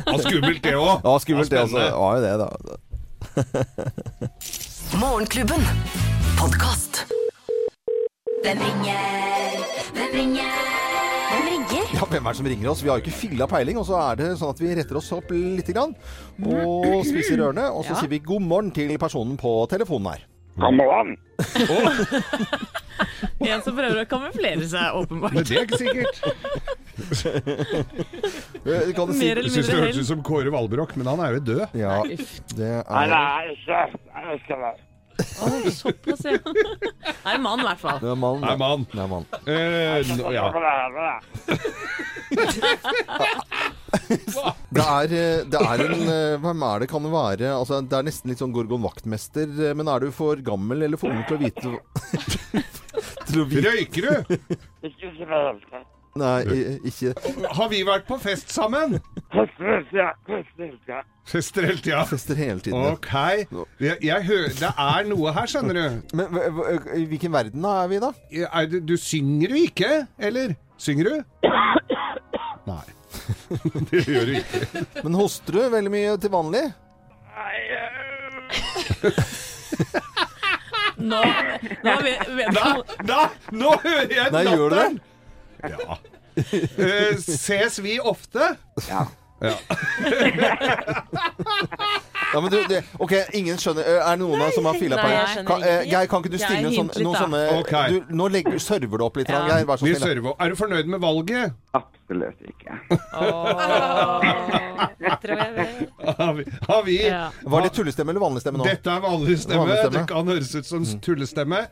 Speaker 3: Ja, skummelt det òg.
Speaker 1: Ja, skummelt det, altså. Ja, jo det, da.
Speaker 6: Morgenklubben. Podkast.
Speaker 7: Hvem ringer? Hvem ringer? Hvem ringer?
Speaker 1: Ja, hvem er det som ringer oss? Vi har jo ikke filla peiling, og så er det sånn at vi retter oss opp lite grann og spiser ørene, og så sier vi god morgen til personen på telefonen her.
Speaker 8: Gammeland.
Speaker 2: En som prøver å kamuflere seg,
Speaker 3: Men
Speaker 2: åpenbart.
Speaker 3: det er ikke sikkert. [laughs]
Speaker 1: Eh, Kan du si
Speaker 2: Mer eller
Speaker 3: Syns det
Speaker 2: mindre
Speaker 3: hørtes
Speaker 2: helt.
Speaker 3: ut som Kåre Valbrok, men han er jo død.
Speaker 1: Ja, det
Speaker 8: Nei,
Speaker 1: er
Speaker 8: det er ikke Jeg er ikke det.
Speaker 2: Å, Såpass, ja. Nei, mann, i hvert fall.
Speaker 1: det er mannen.
Speaker 3: Nei, mann.
Speaker 1: Det er mannen.
Speaker 3: Eh, nå- ja.
Speaker 8: Hva er det her, da?
Speaker 1: Det er, eh, det er en eh, Hvem er det kan det være? Altså, det er nesten litt sånn Gorgon vaktmester. eh, Men er du for gammel eller for ung til å vite hva- [laughs] Til å vite
Speaker 3: Røyker du?
Speaker 8: Ikke si det hele tatt.
Speaker 1: Nei, i- ikke
Speaker 3: Har vi vært på fest sammen?
Speaker 8: Koster hele tida, koster hele tida.
Speaker 3: Fester hele tida.
Speaker 1: fester hele tiden. ja.
Speaker 3: Ok. Jeg, jeg hø det er noe her, skjønner du.
Speaker 1: Men hva- hva- i hvilken verden da er vi da?
Speaker 3: Er det, du synger jo ikke, eller? Synger du? Nei. [laughs] Det gjør du ikke.
Speaker 1: Men hoster du veldig mye til vanlig?
Speaker 8: Nei, øh,
Speaker 2: Nå, nå vet, vet
Speaker 3: Da,
Speaker 2: [laughs] du
Speaker 3: da, nå hører jeg
Speaker 1: Nei, gjør du
Speaker 3: latteren! Ja. Eh, ses vi ofte?
Speaker 1: Ja, men du, det, ok, ingen skjønner Eh, Er det noen av som har fila
Speaker 5: Nei,
Speaker 1: på
Speaker 5: jeg
Speaker 1: det?
Speaker 5: skjønner
Speaker 1: Kan- eh,
Speaker 5: ikke.
Speaker 1: Geir, kan ikke du stille
Speaker 2: Jeg
Speaker 1: noen
Speaker 2: hinter
Speaker 1: sånne, noen
Speaker 2: litt, da.
Speaker 1: sånne
Speaker 3: Ok.
Speaker 1: du, Nå legger, server du opp litt,
Speaker 2: Ja.
Speaker 1: Geir. Vær så
Speaker 3: Vi
Speaker 1: snill.
Speaker 3: server. Sånn Er du fornøyd med valget?
Speaker 8: absolutt ikke.
Speaker 5: Jeg tror jeg vil.
Speaker 3: Har vi, har vi
Speaker 2: Ja.
Speaker 1: Var det tullestemme eller vanlig stemme nå?
Speaker 3: Dette er vanlig stemme. Mm.
Speaker 1: Vanlig stemme.
Speaker 3: Det kan høres ut som tullestemme.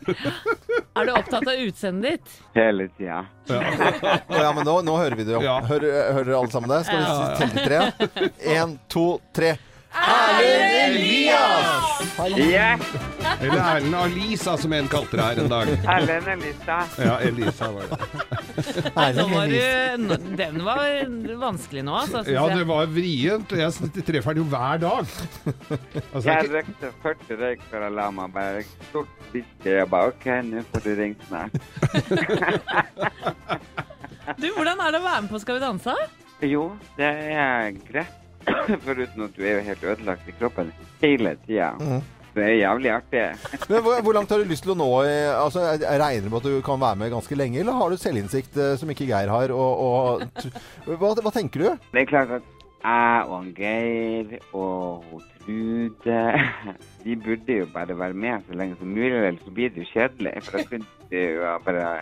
Speaker 2: [laughs] Er du opptatt av utseendet ditt?
Speaker 8: Hele tida.
Speaker 1: Å ja, men nå, nå hører vi det jo.
Speaker 3: Ja.
Speaker 1: Hør, hører alle sammen det? Skal vi telle tre? Én, to, tre. Erlend Elias!
Speaker 8: Ja,
Speaker 3: Eller Erlend Alisa, som en kalte det her en [laughs] dag.
Speaker 8: Erlend Elisa.
Speaker 3: Ja, Elisa var det.
Speaker 2: Nå var du, nå- den var vanskelig nå, altså. synes
Speaker 3: Ja,
Speaker 2: jeg.
Speaker 3: det var vrient. Jeg s- treffer den jo hver dag. Altså, det er
Speaker 8: Jeg
Speaker 3: ikke-
Speaker 8: røykte 40 røyk for Alamaberg. Stort fiske. Jeg bare OK, nå får du ringt snart.
Speaker 2: Du, hvordan er det å være med på Skal vi danse?
Speaker 8: Jo, det er greit. [coughs] Foruten at du er jo helt ødelagt i kroppen hele tida. Det er jævlig artig.
Speaker 1: Men hvor, hvor langt har du lyst til å nå? i- Altså, jeg jeg regner med at du kan være med ganske lenge, eller har du selvinnsikt eh, som ikke Geir har? Og, og tr- hva, hva tenker du?
Speaker 8: Det er klart at jeg og han Geir og hun Trude [laughs] De burde jo bare være med så lenge som mulig, ellers så blir det jo kjedelig. For da kunne de jo bare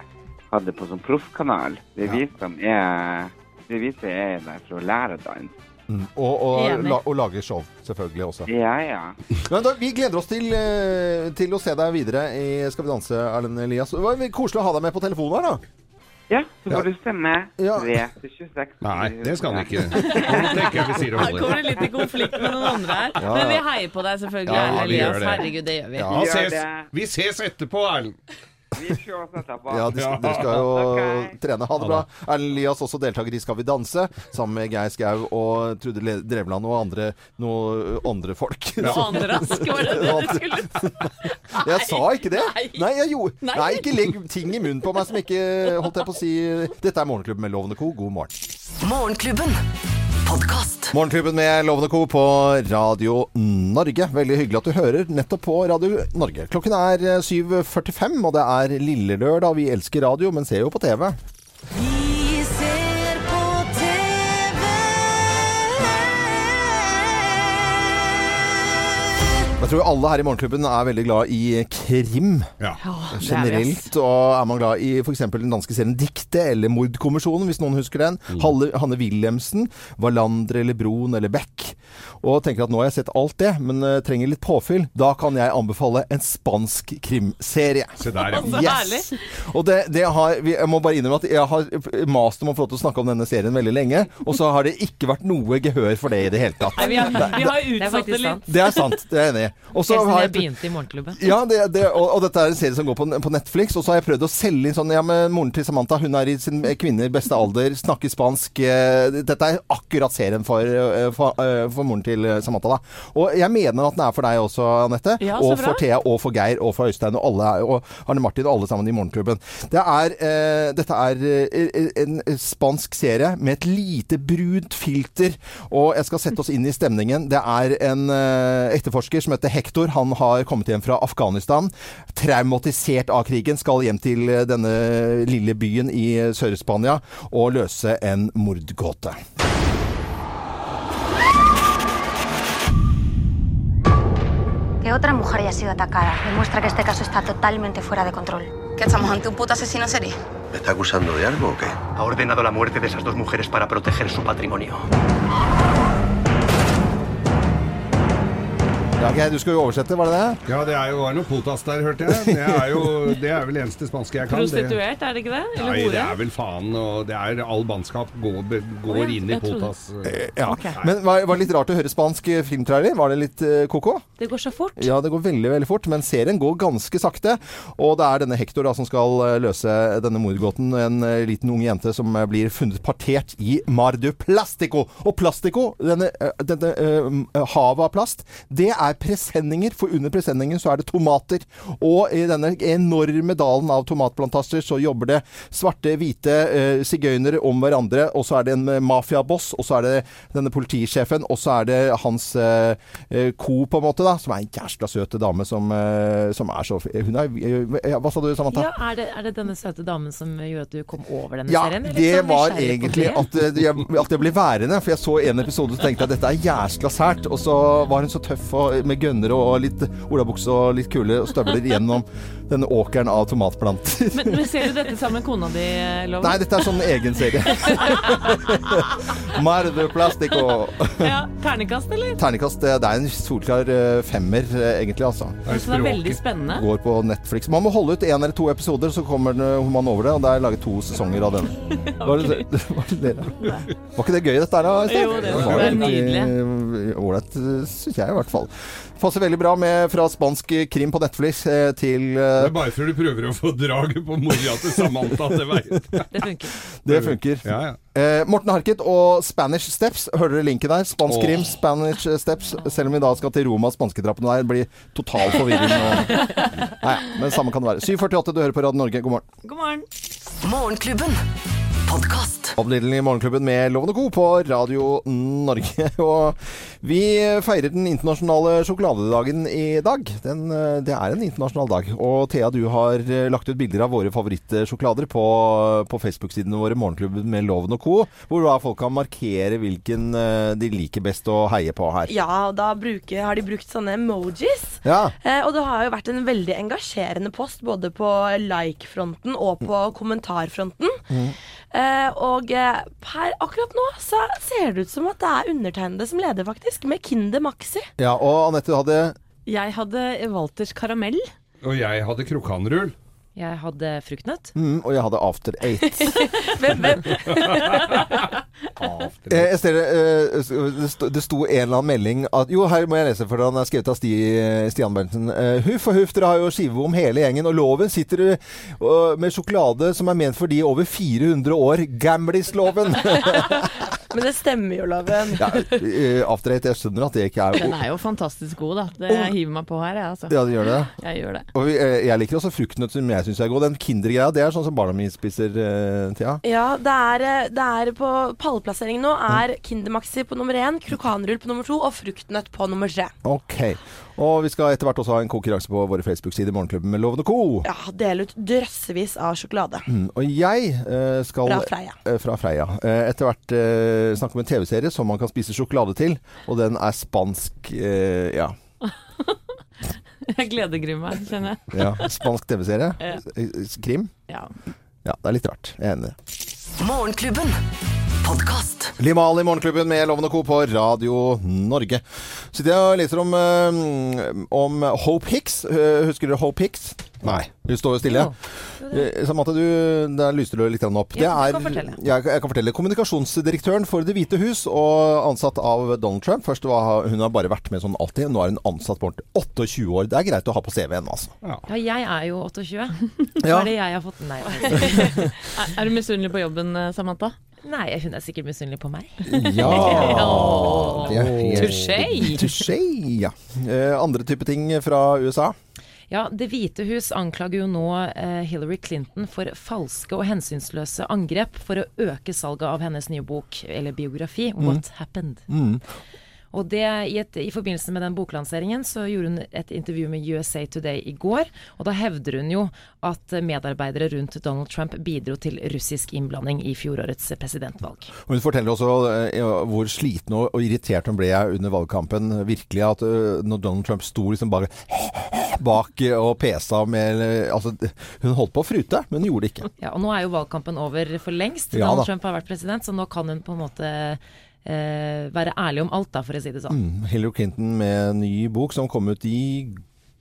Speaker 8: hatt det på sånn proffkanal. Det er vi som er Det er vi som er der for å lære dans.
Speaker 1: Mm, Og, og,
Speaker 2: Enig.
Speaker 1: la, og lage show, selvfølgelig også.
Speaker 8: Ja, ja.
Speaker 1: Men da, vi gleder oss til, eh, til å se deg videre i Skal vi danse, Erlend Elias. Det var koselig å ha deg med på telefonen her, da.
Speaker 8: Ja, så får du stemme.
Speaker 1: Ja.
Speaker 8: 3 til 26.
Speaker 3: Nei, det skal han
Speaker 1: [laughs]
Speaker 3: ikke. Nå tenker jeg vi sier det
Speaker 2: Her kommer
Speaker 3: holder.
Speaker 2: det litt i konflikt med noen andre her. Men vi heier på deg selvfølgelig,
Speaker 1: Ja,
Speaker 2: Erlend
Speaker 3: vi gjør
Speaker 2: Elias.
Speaker 3: det.
Speaker 2: Herregud, det gjør vi.
Speaker 1: Ja.
Speaker 3: Ja, ses.
Speaker 8: Gjør det.
Speaker 3: Vi ses etterpå, Erlend.
Speaker 8: Vi ses etterpå.
Speaker 1: Ja, de, dere skal [laughs] jo
Speaker 8: Ok.
Speaker 1: trene. Ha det bra. Erlend Elias, også deltaker i Skal vi danse, sammen med Geir Skau og Trude Le- Drevland og andre, noe, andre folk. [laughs] Så-
Speaker 2: Andreask, var det det du skulle
Speaker 1: Jeg sa ikke det!
Speaker 2: Nei.
Speaker 1: Nei, jeg gjorde
Speaker 2: Nei.
Speaker 1: Nei, ikke legg ting i munnen på meg som ikke Holdt jeg på å si Dette er Morgenklubben med Lovende Co. God morgen.
Speaker 6: Morgenklubben. Podkast.
Speaker 1: Morgenklubben med Lovende Co. på Radio Norge. Veldig hyggelig at du hører nettopp på Radio Norge. Klokken er eh, 7.45, og det er lille lørdag. Vi elsker radio, men ser jo på TV.
Speaker 6: Vi ser på TV.
Speaker 1: Jeg tror alle her i Morgenklubben er veldig glad i krim
Speaker 3: Ja.
Speaker 1: generelt. Og er man glad i f.eks. den danske serien Dikte eller Mordkommisjonen, hvis noen husker den.
Speaker 2: Mm.
Speaker 1: Halle, Hanne Wilhelmsen, Wallander eller Broen eller Beck. Og tenker at nå har jeg sett alt det, men eh, trenger litt påfyll. Da kan jeg anbefale en spansk krimserie.
Speaker 3: Se der, ja.
Speaker 2: Så herlig.
Speaker 1: Og det, det har, vi- jeg må bare innrømme at jeg har mast om å få lov til å snakke om denne serien veldig lenge, og så har det ikke vært noe gehør for det i det hele tatt.
Speaker 2: Nei, vi har, vi har
Speaker 5: Det er
Speaker 2: utsatt det
Speaker 5: faktisk
Speaker 2: litt.
Speaker 5: sant.
Speaker 1: Det er sant, det er jeg enig i. Og så
Speaker 5: Helt siden
Speaker 1: har
Speaker 5: jeg
Speaker 1: jeg
Speaker 5: begynte i Morgenklubben.
Speaker 1: ja, det, det, og, og dette er en serie som går på, på Netflix. Og så har jeg prøvd å selge inn sånn Ja, men moren til Samantha, hun er i sin kvinne i beste alder, snakker spansk eh, Dette er akkurat serien for, eh, for, eh, for moren til eh, Samantha, da. Og jeg mener at den er for deg også, Anette.
Speaker 2: Ja, så
Speaker 1: og
Speaker 2: bra.
Speaker 1: for Thea, og for Geir, og for Øystein, og alle er- og Arne Martin, og alle sammen i Morgenklubben. Det er, eh, dette er eh, en spansk serie med et lite brunt filter, og jeg skal sette oss inn i stemningen. Det er en eh, etterforsker som heter Hector. Han har kommet hjem fra Afghanistan. Traumatisert av krigen, skal hjem til eh, denne lille byen i eh, Sør-Spania og løse en mordgåte.
Speaker 9: Que otra mujer haya sido atacada demuestra que este caso está totalmente fuera de control.
Speaker 10: ¿Que estamos ante un puto asesino serie?
Speaker 11: ¿Me está acusando de algo o qué? Ha ordenado la muerte de esas dos mujeres para proteger su patrimonio.
Speaker 1: Ja, ok, du skal jo oversette, var det det?
Speaker 3: Ja, det er jo, var noe potas der, hørte jeg. Det er jo det er vel eneste spanske jeg kan. Det.
Speaker 2: Prostituert, er det ikke det? Eller
Speaker 3: Nei, det
Speaker 2: hore?
Speaker 3: er vel faen, og det er all bannskap går, går
Speaker 2: Å, ja,
Speaker 3: inn i
Speaker 2: jeg trodde-
Speaker 3: potas.
Speaker 1: Eh, Ja. Men var, var det litt rart å høre spansk eh, filmtrailer? Var det litt eh, koko?
Speaker 5: Det går så fort.
Speaker 1: Ja, det går veldig veldig fort, men serien går ganske sakte. Og det er denne Hector da, som skal eh, løse denne mordgåten. En eh, liten ung jente som eh, blir funnet partert i Mar du Plastico. Og Plastico, denne, eh, denne eh, havet av plast, det er presenninger. For under presenningen så er det tomater. Og i denne enorme dalen av tomatplantasjer så jobber det svarte, hvite eh, sigøynere om hverandre. Og så er det en eh, mafiaboss, og så er det denne politisjefen, og så er det hans eh, eh, co, på en måte, da, som er en jævla søt dame som, eh, som er så Hun er eh, ja, Hva sa du, Samantha?
Speaker 5: Ja, er det, er det denne søte damen som gjorde at du kom over denne
Speaker 1: Ja,
Speaker 5: serien? Jeg er litt
Speaker 1: det
Speaker 5: sånn
Speaker 1: var
Speaker 5: nysgjerrig på [laughs]
Speaker 1: egentlig
Speaker 5: det.
Speaker 1: at eh, jeg, at jeg ble værende. For jeg så en episode og tenkte jeg at dette er jæskla sært. Og så var hun så tøff og, med gønnere og litt olabukse og litt kule og støvler gjennom denne åkeren av tomatplanter.
Speaker 2: Men, men ser du dette sammen med kona di, Loven?
Speaker 1: Nei, dette er sånn egen serie. Marve Plastico.
Speaker 2: ja, Ternekast, eller?
Speaker 1: Ternekast. eh, Det er en solklar eh, femmer, eh, egentlig, altså.
Speaker 2: Så det er veldig spennende.
Speaker 1: Går på Netflix. Man må holde ut én eller to episoder, så kommer den- eh, man over det. Og det er laget to sesonger
Speaker 2: [laughs]
Speaker 1: av denne. Var det, [laughs] var det dere? Var ikke det gøy, dette her? da, Øystein?
Speaker 2: Jo, det var-
Speaker 1: jo
Speaker 2: det er
Speaker 1: egentlig Ålreit, syns jeg i hvert fall. Passer veldig bra med fra spansk krim på Netflix eh, til eh,
Speaker 3: Det er bare før du prøver å få draget på mora til Samantha at det veier.
Speaker 2: Det funker.
Speaker 1: Det funker. Eh, Morten Harket og Spanish Steps. Hører dere linken der? Spansk
Speaker 3: Åh.
Speaker 1: krim, Spanish eh, Steps. Selv om vi da skal til Roma, spansketrappene der, blir total forvirring. Og... Nei, men samme kan det være. 7.48, du hører på Radio Norge. God morgen.
Speaker 2: God morgen.
Speaker 6: Morgenklubben. Podkast.
Speaker 1: Avdelingen i Morgenklubben med Loven og Co. på Radio Norge. [laughs] Og vi feirer den internasjonale sjokoladedagen i dag. Den, eh, det er en internasjonal dag. Og Thea, du har eh, lagt ut bilder av våre favorittsjokolader på, på Facebook-sidene våre, Morgenklubben med Loven og Co., hvor da folk kan markere hvilken eh, de liker best å heie på her.
Speaker 4: Ja, og da bruker, har de brukt sånne emojis.
Speaker 1: Ja.
Speaker 4: Eh, og det har jo vært en veldig engasjerende post både på like-fronten og på kommentarfronten. Eh, og eh, per akkurat nå så ser det ut som at det er undertegnede som leder, faktisk. Med Kinder Maxi.
Speaker 1: Ja, og Anette, du hadde
Speaker 2: Jeg hadde Walters karamell.
Speaker 3: Og jeg hadde krokanrull.
Speaker 5: Jeg hadde fruktnøtt.
Speaker 1: mm, Og jeg hadde After Eight.
Speaker 5: Hvem, hvem?
Speaker 1: Eh, jeg ser, eh, det sto- det sto en eller annen melding at Jo, her må jeg lese, for den er skrevet av Sti, Stian Berntsen. Eh, huff og huff, dere har jo skive om hele gjengen, og loven sitter eh, med sjokolade som er ment for de over 400 år.
Speaker 2: [laughs]
Speaker 1: Gamlis-loven!
Speaker 4: Men det stemmer jo, Loven.
Speaker 1: ja, eh, After Eight, jeg skjønner at det ikke er
Speaker 2: Den er jo fantastisk god, da. Det jeg hiver meg på her, jeg, altså.
Speaker 1: Ja, det gjør det.
Speaker 2: Jeg gjør det.
Speaker 1: Og vi, eh, jeg liker også fruktnøtt som jeg syns er god. Den Kinder-greia, det er sånn som barna mine spiser, eh, Thea.
Speaker 4: Ja, det er, eh, det er på pallplasseringen nå er Kinder Maxi på nummer én, krokanrull på nummer to og fruktnøtt på nummer tre.
Speaker 1: Ok. Og vi skal etter hvert også ha en konkurranse på våre Facebook-sider, Morgenklubben med Loven og co.
Speaker 4: Ja, del ut drøssevis av sjokolade.
Speaker 1: Mm, og jeg eh, skal
Speaker 4: Fra Freia.
Speaker 1: eh, fra Freia. Eh, etter hvert eh, snakke om en TV-serie som man kan spise sjokolade til, og den er spansk eh, ja,
Speaker 2: Jeg gledegryr meg, kjenner jeg.
Speaker 1: ja. Spansk TV-serie.
Speaker 2: Ja.
Speaker 1: Eh, eh, Krim.
Speaker 2: Ja.
Speaker 1: Ja, det er litt rart. Jeg er enig.
Speaker 6: Morgenklubben. Podkast.
Speaker 1: Limal i Morgenklubben med Loven og Co. på Radio Norge. Sitter jeg og leser om, eh, om Hope Hicks. Eh, Husker dere Hope Hicks? Nei. Hun står jo stille. Eh, Samantha, du, der lyste du litt grann opp.
Speaker 5: Ja,
Speaker 1: Det
Speaker 5: du kan
Speaker 1: er-
Speaker 5: fortelle.
Speaker 1: Jeg, jeg kan fortelle. Kommunikasjonsdirektøren for Det hvite hus og ansatt av Donald Trump. Først var hun har bare vært med sånn alltid. Nå er hun ansatt på ordentlig. 28 år. Det er greit å ha på CV-en, altså.
Speaker 5: Ja, jeg er jo 28. Hva
Speaker 1: Ja.
Speaker 5: er det jeg har fått? Nei, nei.
Speaker 2: Er, er du misunnelig på jobben, eh, Samantha?
Speaker 5: nei, hun er sikkert misunnelig på meg.
Speaker 1: Ja. Det er helt-
Speaker 5: Touché.
Speaker 1: Touché, ja. Eh, Andre type ting fra USA.
Speaker 5: Ja, Det hvite hus anklager jo nå eh, Hillary Clinton for falske og hensynsløse angrep for å øke salget av hennes nye bok, eller biografi, 'What Happened'. Og det, i, et, I forbindelse med den boklanseringen så gjorde hun et intervju med USA Today i går. og Da hevder hun jo at medarbeidere rundt Donald Trump bidro til russisk innblanding i fjorårets presidentvalg.
Speaker 1: Og Hun forteller også eh, hvor sliten og, og irritert hun ble under valgkampen. Virkelig at eh, når Donald Trump sto liksom bare [laughs] bak eh, og pesa med eh, Altså, hun holdt på å frute, men gjorde det ikke.
Speaker 5: Ja, og Nå er jo valgkampen over for lengst.
Speaker 1: Ja,
Speaker 5: Donald
Speaker 1: da.
Speaker 5: Trump har vært president, så nå kan hun på en måte eh, være ærlig om alt, da, for å si det sånn.
Speaker 1: Mm, Hillary Clinton med en ny bok som kom ut i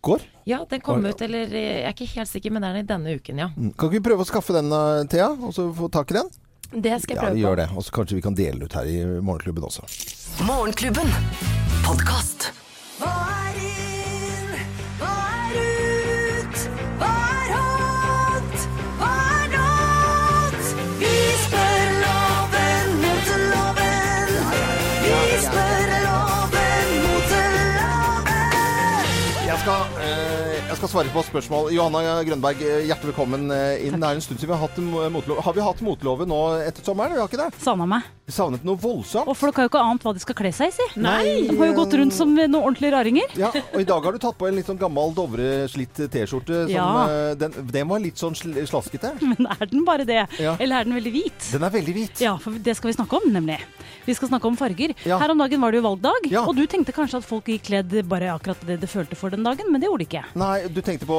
Speaker 1: går.
Speaker 5: Ja, den kom
Speaker 1: Var-
Speaker 5: ut, eller eh, jeg er ikke helt sikker, men det er den i denne uken, ja.
Speaker 1: Mm, Kan ikke vi prøve å skaffe den, eh, Thea? Og så få tak i den?
Speaker 4: Det skal jeg
Speaker 1: Ja,
Speaker 4: prøve
Speaker 1: vi
Speaker 4: på.
Speaker 1: gjør det. Og så kanskje vi kan dele den ut her i Morgenklubben også.
Speaker 6: Morgenklubben. Podkast.
Speaker 7: Hva er inn? Hva er ut? Hva er hot? Hva er not? Vi spør loven mot loven. Vi spør loven mot loven.
Speaker 1: Jeg skal, eh, jeg skal svare på spørsmål. Johanna Grønberg, eh, hjertelig velkommen eh, inn. Det er en stund siden vi har hatt en mo- motlov. Har vi hatt motlove nå etter sommeren? Vi har ikke det?
Speaker 12: Savna meg.
Speaker 1: Savnet noe voldsomt.
Speaker 12: Og folk har jo ikke ant hva de skal kle seg i, si.
Speaker 1: Nei.
Speaker 12: De har jo gått rundt som noen ordentlige raringer. [laughs]
Speaker 1: Ja, og i dag har du tatt på en litt sånn gammel Dovre-slitt T-skjorte. som,
Speaker 12: Ja.
Speaker 1: eh, Den, den var litt sånn sl slaskete.
Speaker 12: Men er den bare det?
Speaker 1: Ja.
Speaker 12: [laughs] Eller er den veldig hvit?
Speaker 1: Den er veldig hvit.
Speaker 12: Ja, for det skal vi snakke om, nemlig. Vi skal snakke om farger. Her om dagen var det jo valgdag, og du tenkte kanskje at folk gikk kledd bare akkurat det det følte for den dagen, men det gjorde de ikke.
Speaker 1: Nei, du tenkte på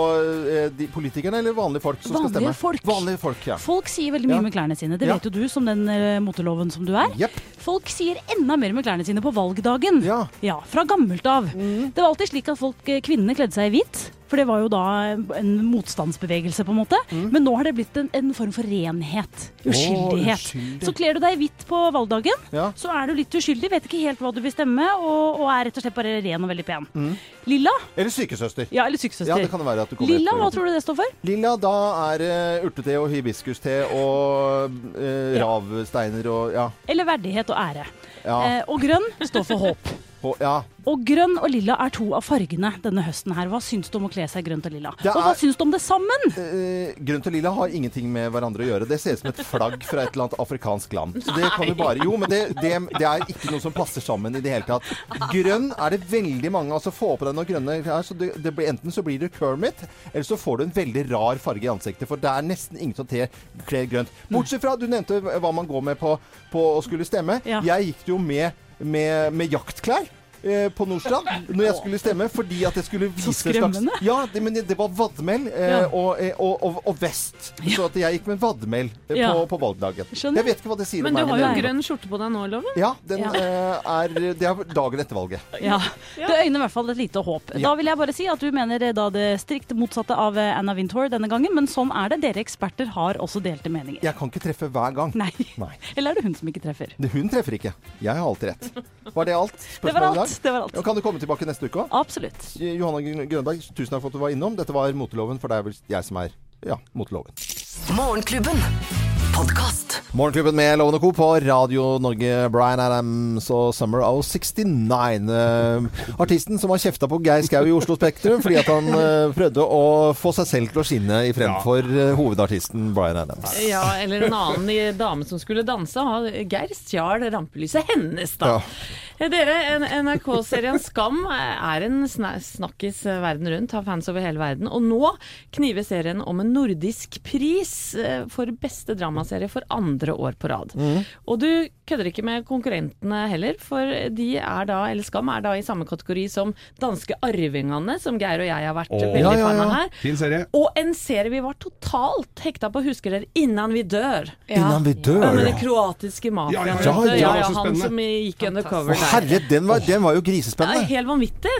Speaker 1: eh, de politikerne eller vanlige folk som
Speaker 12: Vanlige
Speaker 1: skal stemme?
Speaker 12: folk.
Speaker 1: Vanlige folk. Ja.
Speaker 12: Folk sier veldig mye
Speaker 1: Ja.
Speaker 12: med klærne sine. Det
Speaker 1: Ja.
Speaker 12: vet jo du som den eh, moteloven som du er. Folk sier enda mer med klærne sine på valgdagen. Ja, Fra gammelt av.
Speaker 1: Mm.
Speaker 12: Det var alltid slik at folk, eh, kvinnene kledde seg i hvitt. For det var jo da eh, en motstandsbevegelse, på en måte.
Speaker 1: Mm.
Speaker 12: Men nå har det blitt en, en form for renhet.
Speaker 7: Å,
Speaker 12: Uskyldighet.
Speaker 7: uskyldig.
Speaker 12: Så kler du deg i hvitt på valgdagen,
Speaker 7: Ja.
Speaker 12: så er du litt uskyldig, vet ikke helt hva du vil stemme, og, og er rett og slett bare ren og veldig pen.
Speaker 1: Mm.
Speaker 12: Lilla?
Speaker 1: Eller sykesøster.
Speaker 12: Ja, eller sykesøster.
Speaker 1: Ja, det kan det være at du kommer
Speaker 12: Lilla,
Speaker 1: etter.
Speaker 12: hva tror du det står for?
Speaker 1: Lilla, da er det urtete og hibiskuste og eh, ravsteiner og ja.
Speaker 12: Eller verdighet og ære.
Speaker 1: Ja.
Speaker 12: Eh, og grønn står for
Speaker 1: [laughs]
Speaker 12: håp.
Speaker 1: På- ja.
Speaker 12: Og grønn og lilla er to av fargene denne høsten her. Hva syns du om å kle seg grønt og lilla?
Speaker 1: Det
Speaker 12: Og hva
Speaker 1: er-
Speaker 12: syns du om det sammen?
Speaker 1: Grønt og lilla har ingenting med hverandre å gjøre. Det ser ut som et flagg fra et eller annet afrikansk land. Så det kan du bare Jo, men det, det, det er ikke noe som passer sammen i det hele tatt. Grønn er det veldig mange Altså, få på deg noen grønne klær. Så det, det blir, enten så blir du Kermit, eller så får du en veldig rar farge i ansiktet. For det er nesten ingen som te- kler grønt. Bortsett fra, du nevnte hva man går med på, på å skulle stemme. Jeg gikk jo med, med, med jaktklær. eh, På Nordstrand, når jeg skulle stemme, fordi at jeg skulle vise en slags-
Speaker 12: skremmende.
Speaker 1: Ja, det, men det var vadmel eh,
Speaker 12: Ja.
Speaker 1: og, eh, og, og, og vest. Så at jeg gikk med vadmel eh,
Speaker 2: Ja.
Speaker 1: på, på valgdagen. Jeg vet ikke hva det sier
Speaker 2: Men
Speaker 1: om
Speaker 2: du
Speaker 1: meg.
Speaker 2: har jo
Speaker 1: men det-
Speaker 2: grønn skjorte på deg nå, Loven.
Speaker 1: Ja, den, eh, er, det er dagen etter valget.
Speaker 12: Ja. Det øyner i hvert fall et lite håp. Da vil jeg bare si at du mener eh, da det strikt motsatte av eh, Anna Wintour denne gangen, men sånn er det. Dere eksperter har også delte meninger.
Speaker 1: Jeg kan ikke treffe hver gang.
Speaker 12: Nei.
Speaker 1: Nei.
Speaker 12: Eller er det hun som ikke treffer?
Speaker 1: Det- Hun treffer ikke. Jeg har alltid rett. Var det alt?
Speaker 12: [laughs] Det var
Speaker 1: Spørsmålet i dag?
Speaker 12: alt. Det var alt.
Speaker 1: Ja, Kan du komme tilbake neste uke òg?
Speaker 12: Absolutt.
Speaker 1: Johanna Grøn- Grønberg, tusen takk for at du var innom. Dette var moteloven, for det er vel jeg som er ja, moteloven.
Speaker 6: Morgenklubben. Podkast.
Speaker 1: Morgenklubben med Loven og Co. på Radio Norge. Bryan Adams og Summer of 69. Eh, Artisten som har kjefta på Geir Skau i Oslo Spektrum fordi at han eh, prøvde å få seg selv til å skinne i fremfor eh, hovedartisten Bryan Adams.
Speaker 2: Ja, eller en annen i- dame som skulle danse. Ha- Geir stjal rampelyset hennes, da.
Speaker 1: Ja.
Speaker 2: Eh, Dere, en- NRK-serien Skam er en sna- snakkis eh, verden rundt, har fans over hele verden. Og nå kniver serien om en nordisk pris eh, for beste dramaserie for andre år på rad. Og du kødder ikke med konkurrentene heller, for de er da, eller Skam er da i samme kategori som danske Arvingene, som Geir og jeg har vært veldig fan av her.
Speaker 3: Fin serie.
Speaker 2: Og en serie vi var totalt hekta på, husker dere, 'Innan vi dør'.
Speaker 1: Innan vi dør,
Speaker 2: Ja, med
Speaker 1: ja.
Speaker 2: det kroatiske mafiaen.
Speaker 1: Ja, ja, ja.
Speaker 2: vet
Speaker 1: Ja,
Speaker 2: du.
Speaker 1: ja,
Speaker 2: ja,
Speaker 1: det
Speaker 2: ja,
Speaker 1: var så
Speaker 2: han
Speaker 1: spennende.
Speaker 2: som gikk undercover
Speaker 1: Å,
Speaker 2: der.
Speaker 1: herre, den var, den var jo
Speaker 2: Ja,
Speaker 1: grisespennende.
Speaker 2: helt vanvittig.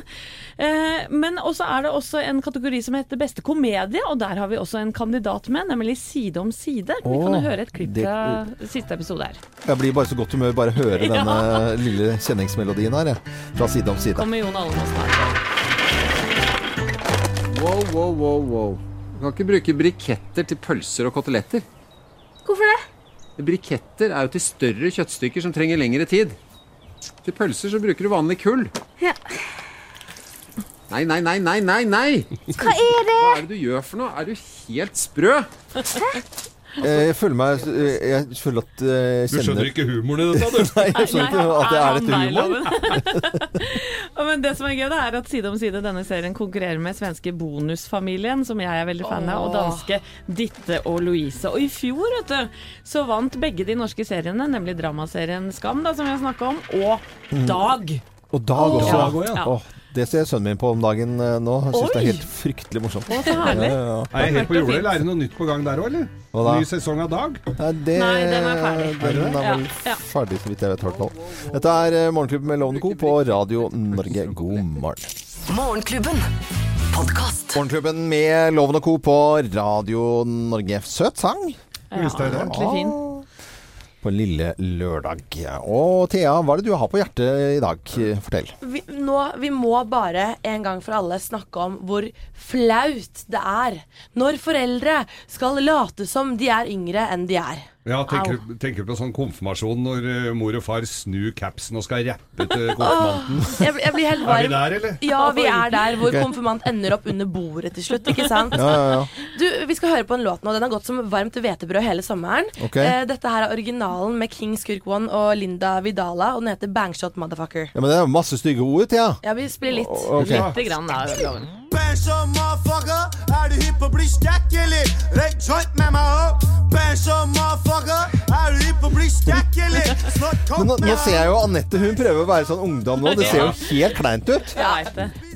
Speaker 2: Eh, men også er det også en kategori som heter beste komedie, og der har vi også en kandidat med, nemlig Side om side. Vi kan jo
Speaker 1: Åh,
Speaker 2: høre et klipp
Speaker 1: det-
Speaker 2: fra siste episode her.
Speaker 1: Jeg blir bare så godt humør bare høre denne eh, lille kjenningsmelodien her, jeg. Fra side om side.
Speaker 2: Kommer Jon Almaas snart.
Speaker 13: Wow, wow, wow, wow. Du kan ikke bruke briketter til pølser og koteletter.
Speaker 10: Hvorfor det?
Speaker 13: Briketter er jo til større kjøttstykker som trenger lengre tid. Til pølser så bruker du vanlig kull.
Speaker 10: Ja.
Speaker 13: Nei, nei, nei, nei, nei, nei!
Speaker 10: Hva er det?
Speaker 13: Hva er det du gjør for noe? Er du helt sprø?
Speaker 1: Eh, Jeg føler meg eh, Jeg føler at eh, jeg
Speaker 3: Du
Speaker 1: kjenner
Speaker 3: skjønner ikke humoren i dette, du.
Speaker 1: Nei, jeg skjønner ikke at det er dette
Speaker 2: Nei,
Speaker 1: humor.
Speaker 2: [laughs] Ja, Men det som er gøy, det er at side om side denne serien konkurrerer med svenske Bonusfamilien, som jeg er veldig fan av, og danske Ditte og Louise. Og i fjor, vet du, så vant begge de norske seriene, nemlig dramaserien Skam, da, som vi har snakka om, og
Speaker 1: Mm.
Speaker 2: Dag.
Speaker 1: Og Dag også.
Speaker 2: Ja.
Speaker 1: Åh, Det ser sønnen min på om dagen eh, nå. Han syns det
Speaker 3: Oi!
Speaker 1: er helt fryktelig morsomt.
Speaker 2: Å, så herlig.
Speaker 3: Er jeg helt på jordet, eller er det noe nytt på gang der òg, eller?
Speaker 1: Hva da?
Speaker 3: Ny sesong av Dag?
Speaker 2: Nei, den er ferdig.
Speaker 1: Den er vel
Speaker 2: Ja, ja.
Speaker 1: ferdig, så vidt jeg vet. i hvert fall. Dette er eh, Morgenklubben med Lovende Co. på Radio Norge. God morgen.
Speaker 6: Morgenklubben. Podkast.
Speaker 1: Morgenklubben med Loven og Co. på Radio Norge. Søt sang. Ah.
Speaker 2: Ja, ordentlig fin.
Speaker 1: På lille lørdag. Og Thea, hva er det du har på hjertet i dag? Fortell.
Speaker 4: vi, nå, vi må bare en gang for alle snakke om hvor flaut det er når foreldre skal late som de er yngre enn de er.
Speaker 3: Ja, tenker,
Speaker 4: Au.
Speaker 3: tenker på sånn konfirmasjon når eh, mor og far snur capsen og skal rappe til konfirmanten.
Speaker 4: Jeg, blir- jeg blir helt varm.
Speaker 3: Er vi der, eller?
Speaker 4: Ja, vi er der hvor
Speaker 3: Ok.
Speaker 4: konfirmant ender opp under bordet til slutt, ikke sant?
Speaker 1: Ja, ja, ja.
Speaker 4: Du, vi skal høre på en låt nå. Den har gått som varmt hvetebrød hele sommeren.
Speaker 1: Ok.
Speaker 4: Eh, dette her er originalen med King Skurk One og Linda Vidala, og den heter Bangshot Motherfucker.
Speaker 1: Ja, men det er masse stygge ord, Thea.
Speaker 4: Ja, vi spiller litt.
Speaker 1: O- ok. Lite
Speaker 4: grann, da.
Speaker 7: Bæsja, motherfucker, er du hypp på å bli stækkelig? Røyk joint med meg opp. Bæsja, motherfucker, er du hypp på å bli stækkelig? Snart kom
Speaker 1: Men nå, nå
Speaker 7: meg
Speaker 1: ser jeg jo Anette, hun prøver å være sånn ungdom nå. Det ser jo
Speaker 7: Ja.
Speaker 1: helt kleint ut.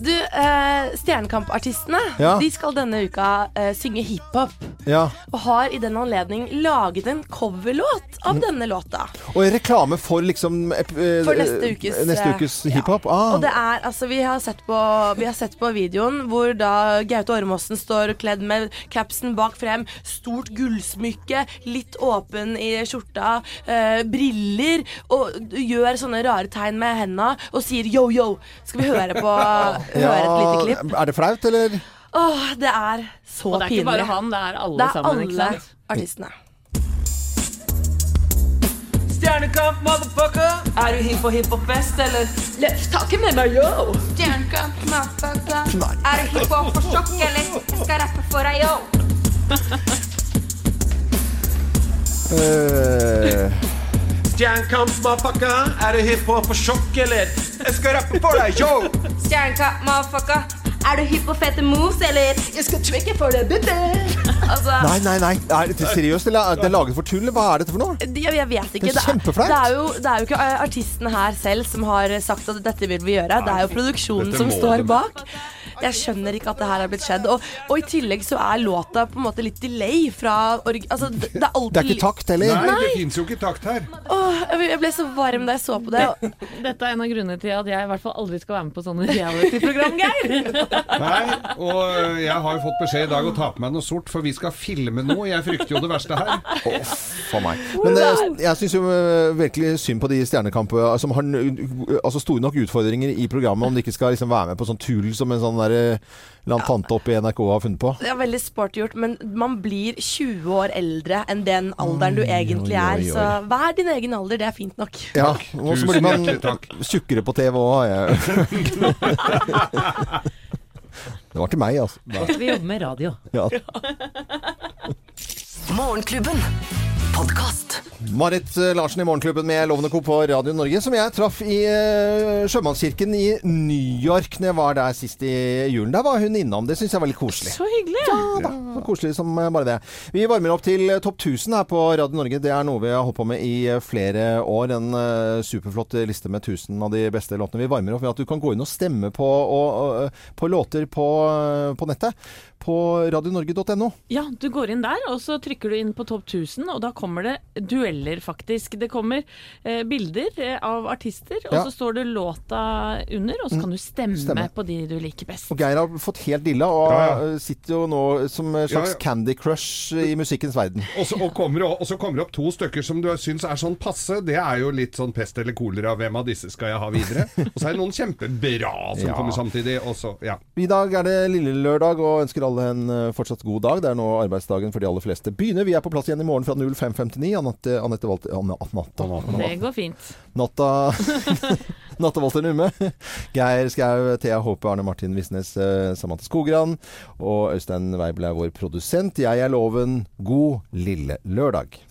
Speaker 4: Du, eh, Stjernekampartistene
Speaker 1: Ja.
Speaker 4: De skal denne uka eh, synge hiphop.
Speaker 1: Ja.
Speaker 4: Og har i den anledning laget en coverlåt av denne låta.
Speaker 1: Og reklame for liksom eh, eh,
Speaker 4: For neste ukes,
Speaker 1: neste
Speaker 4: eh,
Speaker 1: ukes hiphop. Ah.
Speaker 4: Og det er, altså, vi har, sett på, vi har sett på videoen hvor da Gaute Ormåsen står kledd med capsen bak frem, stort gullsmykke, litt åpen i skjorta, eh, briller, og gjør sånne rare tegn med henda og sier yo, yo. Skal vi høre på høre et lite klipp?
Speaker 1: Er det flaut, eller?
Speaker 4: Åh, det er så pinlig.
Speaker 2: Og det er ikke bare han, det er alle
Speaker 4: Det er
Speaker 2: sammen, ikke
Speaker 4: alle
Speaker 2: sant?
Speaker 4: artistene.
Speaker 14: Stjernekamp, motherfucker. Er du hypp på hiphop-fest, eller? Løft taket med meg, yo!
Speaker 10: Stjernekamp, motherfucker. Er du hiphop for sjokk, eller? Jeg skal rappe for deg, yo.
Speaker 1: Eh,
Speaker 14: Stjernekamp, motherfucker. Er du hypp på for sjokk, eller? Jeg skal rappe for deg, yo!
Speaker 10: Stjernekamp, motherfucker. Er du hypp på fete moves, eller? Jeg skal tricke for deg, bitte. Altså,
Speaker 1: nei, nei, nei. Er det seriøst, eller er det laget for tull? eller Hva er dette for noe?
Speaker 4: De- Jeg, jeg vet
Speaker 1: Det
Speaker 4: ikke.
Speaker 1: er kjempeflaut.
Speaker 4: Det er, jo, det er jo ikke eh, artistene her selv som har sagt at dette vil vi gjøre. Det er jo produksjonen
Speaker 10: Dette
Speaker 4: som
Speaker 10: må
Speaker 4: står
Speaker 10: de.
Speaker 4: bak. Jeg skjønner ikke at det her er blitt skjedd. Og, og i tillegg så er låta på en måte litt delay fra org... Altså, det, det er alltid litt-
Speaker 3: [laughs] Nei, det
Speaker 4: Nei.
Speaker 3: fins jo ikke takt her.
Speaker 4: Åh, jeg ble- jeg ble så varm da jeg så på det. og-
Speaker 2: Dette er en av grunnene til at jeg i hvert fall aldri skal være med på sånne reality-program, Geir.
Speaker 3: Nei, og øh, jeg har jo fått beskjed i dag å ta på meg noe sort, for vi skal filme noe. Jeg frykter jo det verste her.
Speaker 1: For meg. Men jeg, jeg syns jo eh, virkelig synd på de stjernekampene som har n- altså, store nok utfordringer i programmet, om de ikke skal liksom, være med på sånn tull som en sånn der, eh, eller annen tante oppe i NRK har funnet på.
Speaker 4: Det er veldig sporty gjort, men man blir 20 år eldre enn den alderen du egentlig
Speaker 1: oi,
Speaker 4: er.
Speaker 1: oi.
Speaker 4: Så vær din egen alder, det er fint nok.
Speaker 1: Ja, og så
Speaker 3: Tusen
Speaker 1: blir man
Speaker 3: hjertelig takk.
Speaker 1: tjukkere på TV òg, har jeg
Speaker 3: [laughs]
Speaker 1: Det var til meg,
Speaker 3: [laughs]
Speaker 1: altså.
Speaker 5: Godt [laughs] vi jobber med radio.
Speaker 1: Ja.
Speaker 6: Morgenklubben. Podkast.
Speaker 1: Marit eh, Larsen i Morgenklubben med Lovende Co. på Radio Norge, som jeg traff i eh, sjømannskirken i New York når jeg var der sist i julen. Der var hun innom. Det syns jeg var litt koselig.
Speaker 2: Så hyggelig.
Speaker 1: Ja da, så koselig som eh, bare det. Vi varmer opp til eh, Topp 1000 her på Radio Norge. Det er noe vi har holdt på med i eh, flere år. En eh, superflott liste med 1000 av de beste låtene. Vi varmer opp ved at du kan gå inn og stemme på, og, og, eh, på låter på, eh, på nettet. På radionorge.no.
Speaker 2: Ja, du går inn der, og så trykker du inn på topp 1000, og da kommer det dueller, faktisk. Det kommer eh, bilder eh, av artister, og
Speaker 1: Ja. Mm.
Speaker 2: så står det låta under, og så kan du stemme,
Speaker 1: Stemme.
Speaker 2: på de du liker best.
Speaker 1: Og Geir har fått helt dilla, og
Speaker 3: Ja, ja.
Speaker 1: eh, sitter jo nå som en
Speaker 3: Ja,
Speaker 1: slags
Speaker 3: ja.
Speaker 1: Candy Crush i musikkens verden.
Speaker 3: Og så og kommer, det- og så kommer det opp to stykker som du syns er sånn passe. Det er jo litt sånn pest eller kolera. Hvem av disse skal jeg ha videre? Og så er det noen kjempebra som
Speaker 1: Ja.
Speaker 3: kommer samtidig. Og så, ja.
Speaker 1: I dag er det lille lørdag og ønsker alle en eh, fortsatt god dag. Det er nå arbeidsdagen for de aller fleste begynner. Vi er på plass igjen i morgen fra 05.59. Anette, Anette Walter Anne- Natta.
Speaker 2: Det går fint.
Speaker 1: Natta [laughs] Natta Walter Numme. Geir Skau, Thea Håpe, Arne Martin Visnes, eh, Samantha Skogran og Øystein Weibel er vår produsent. Jeg er Loven. God lille lørdag.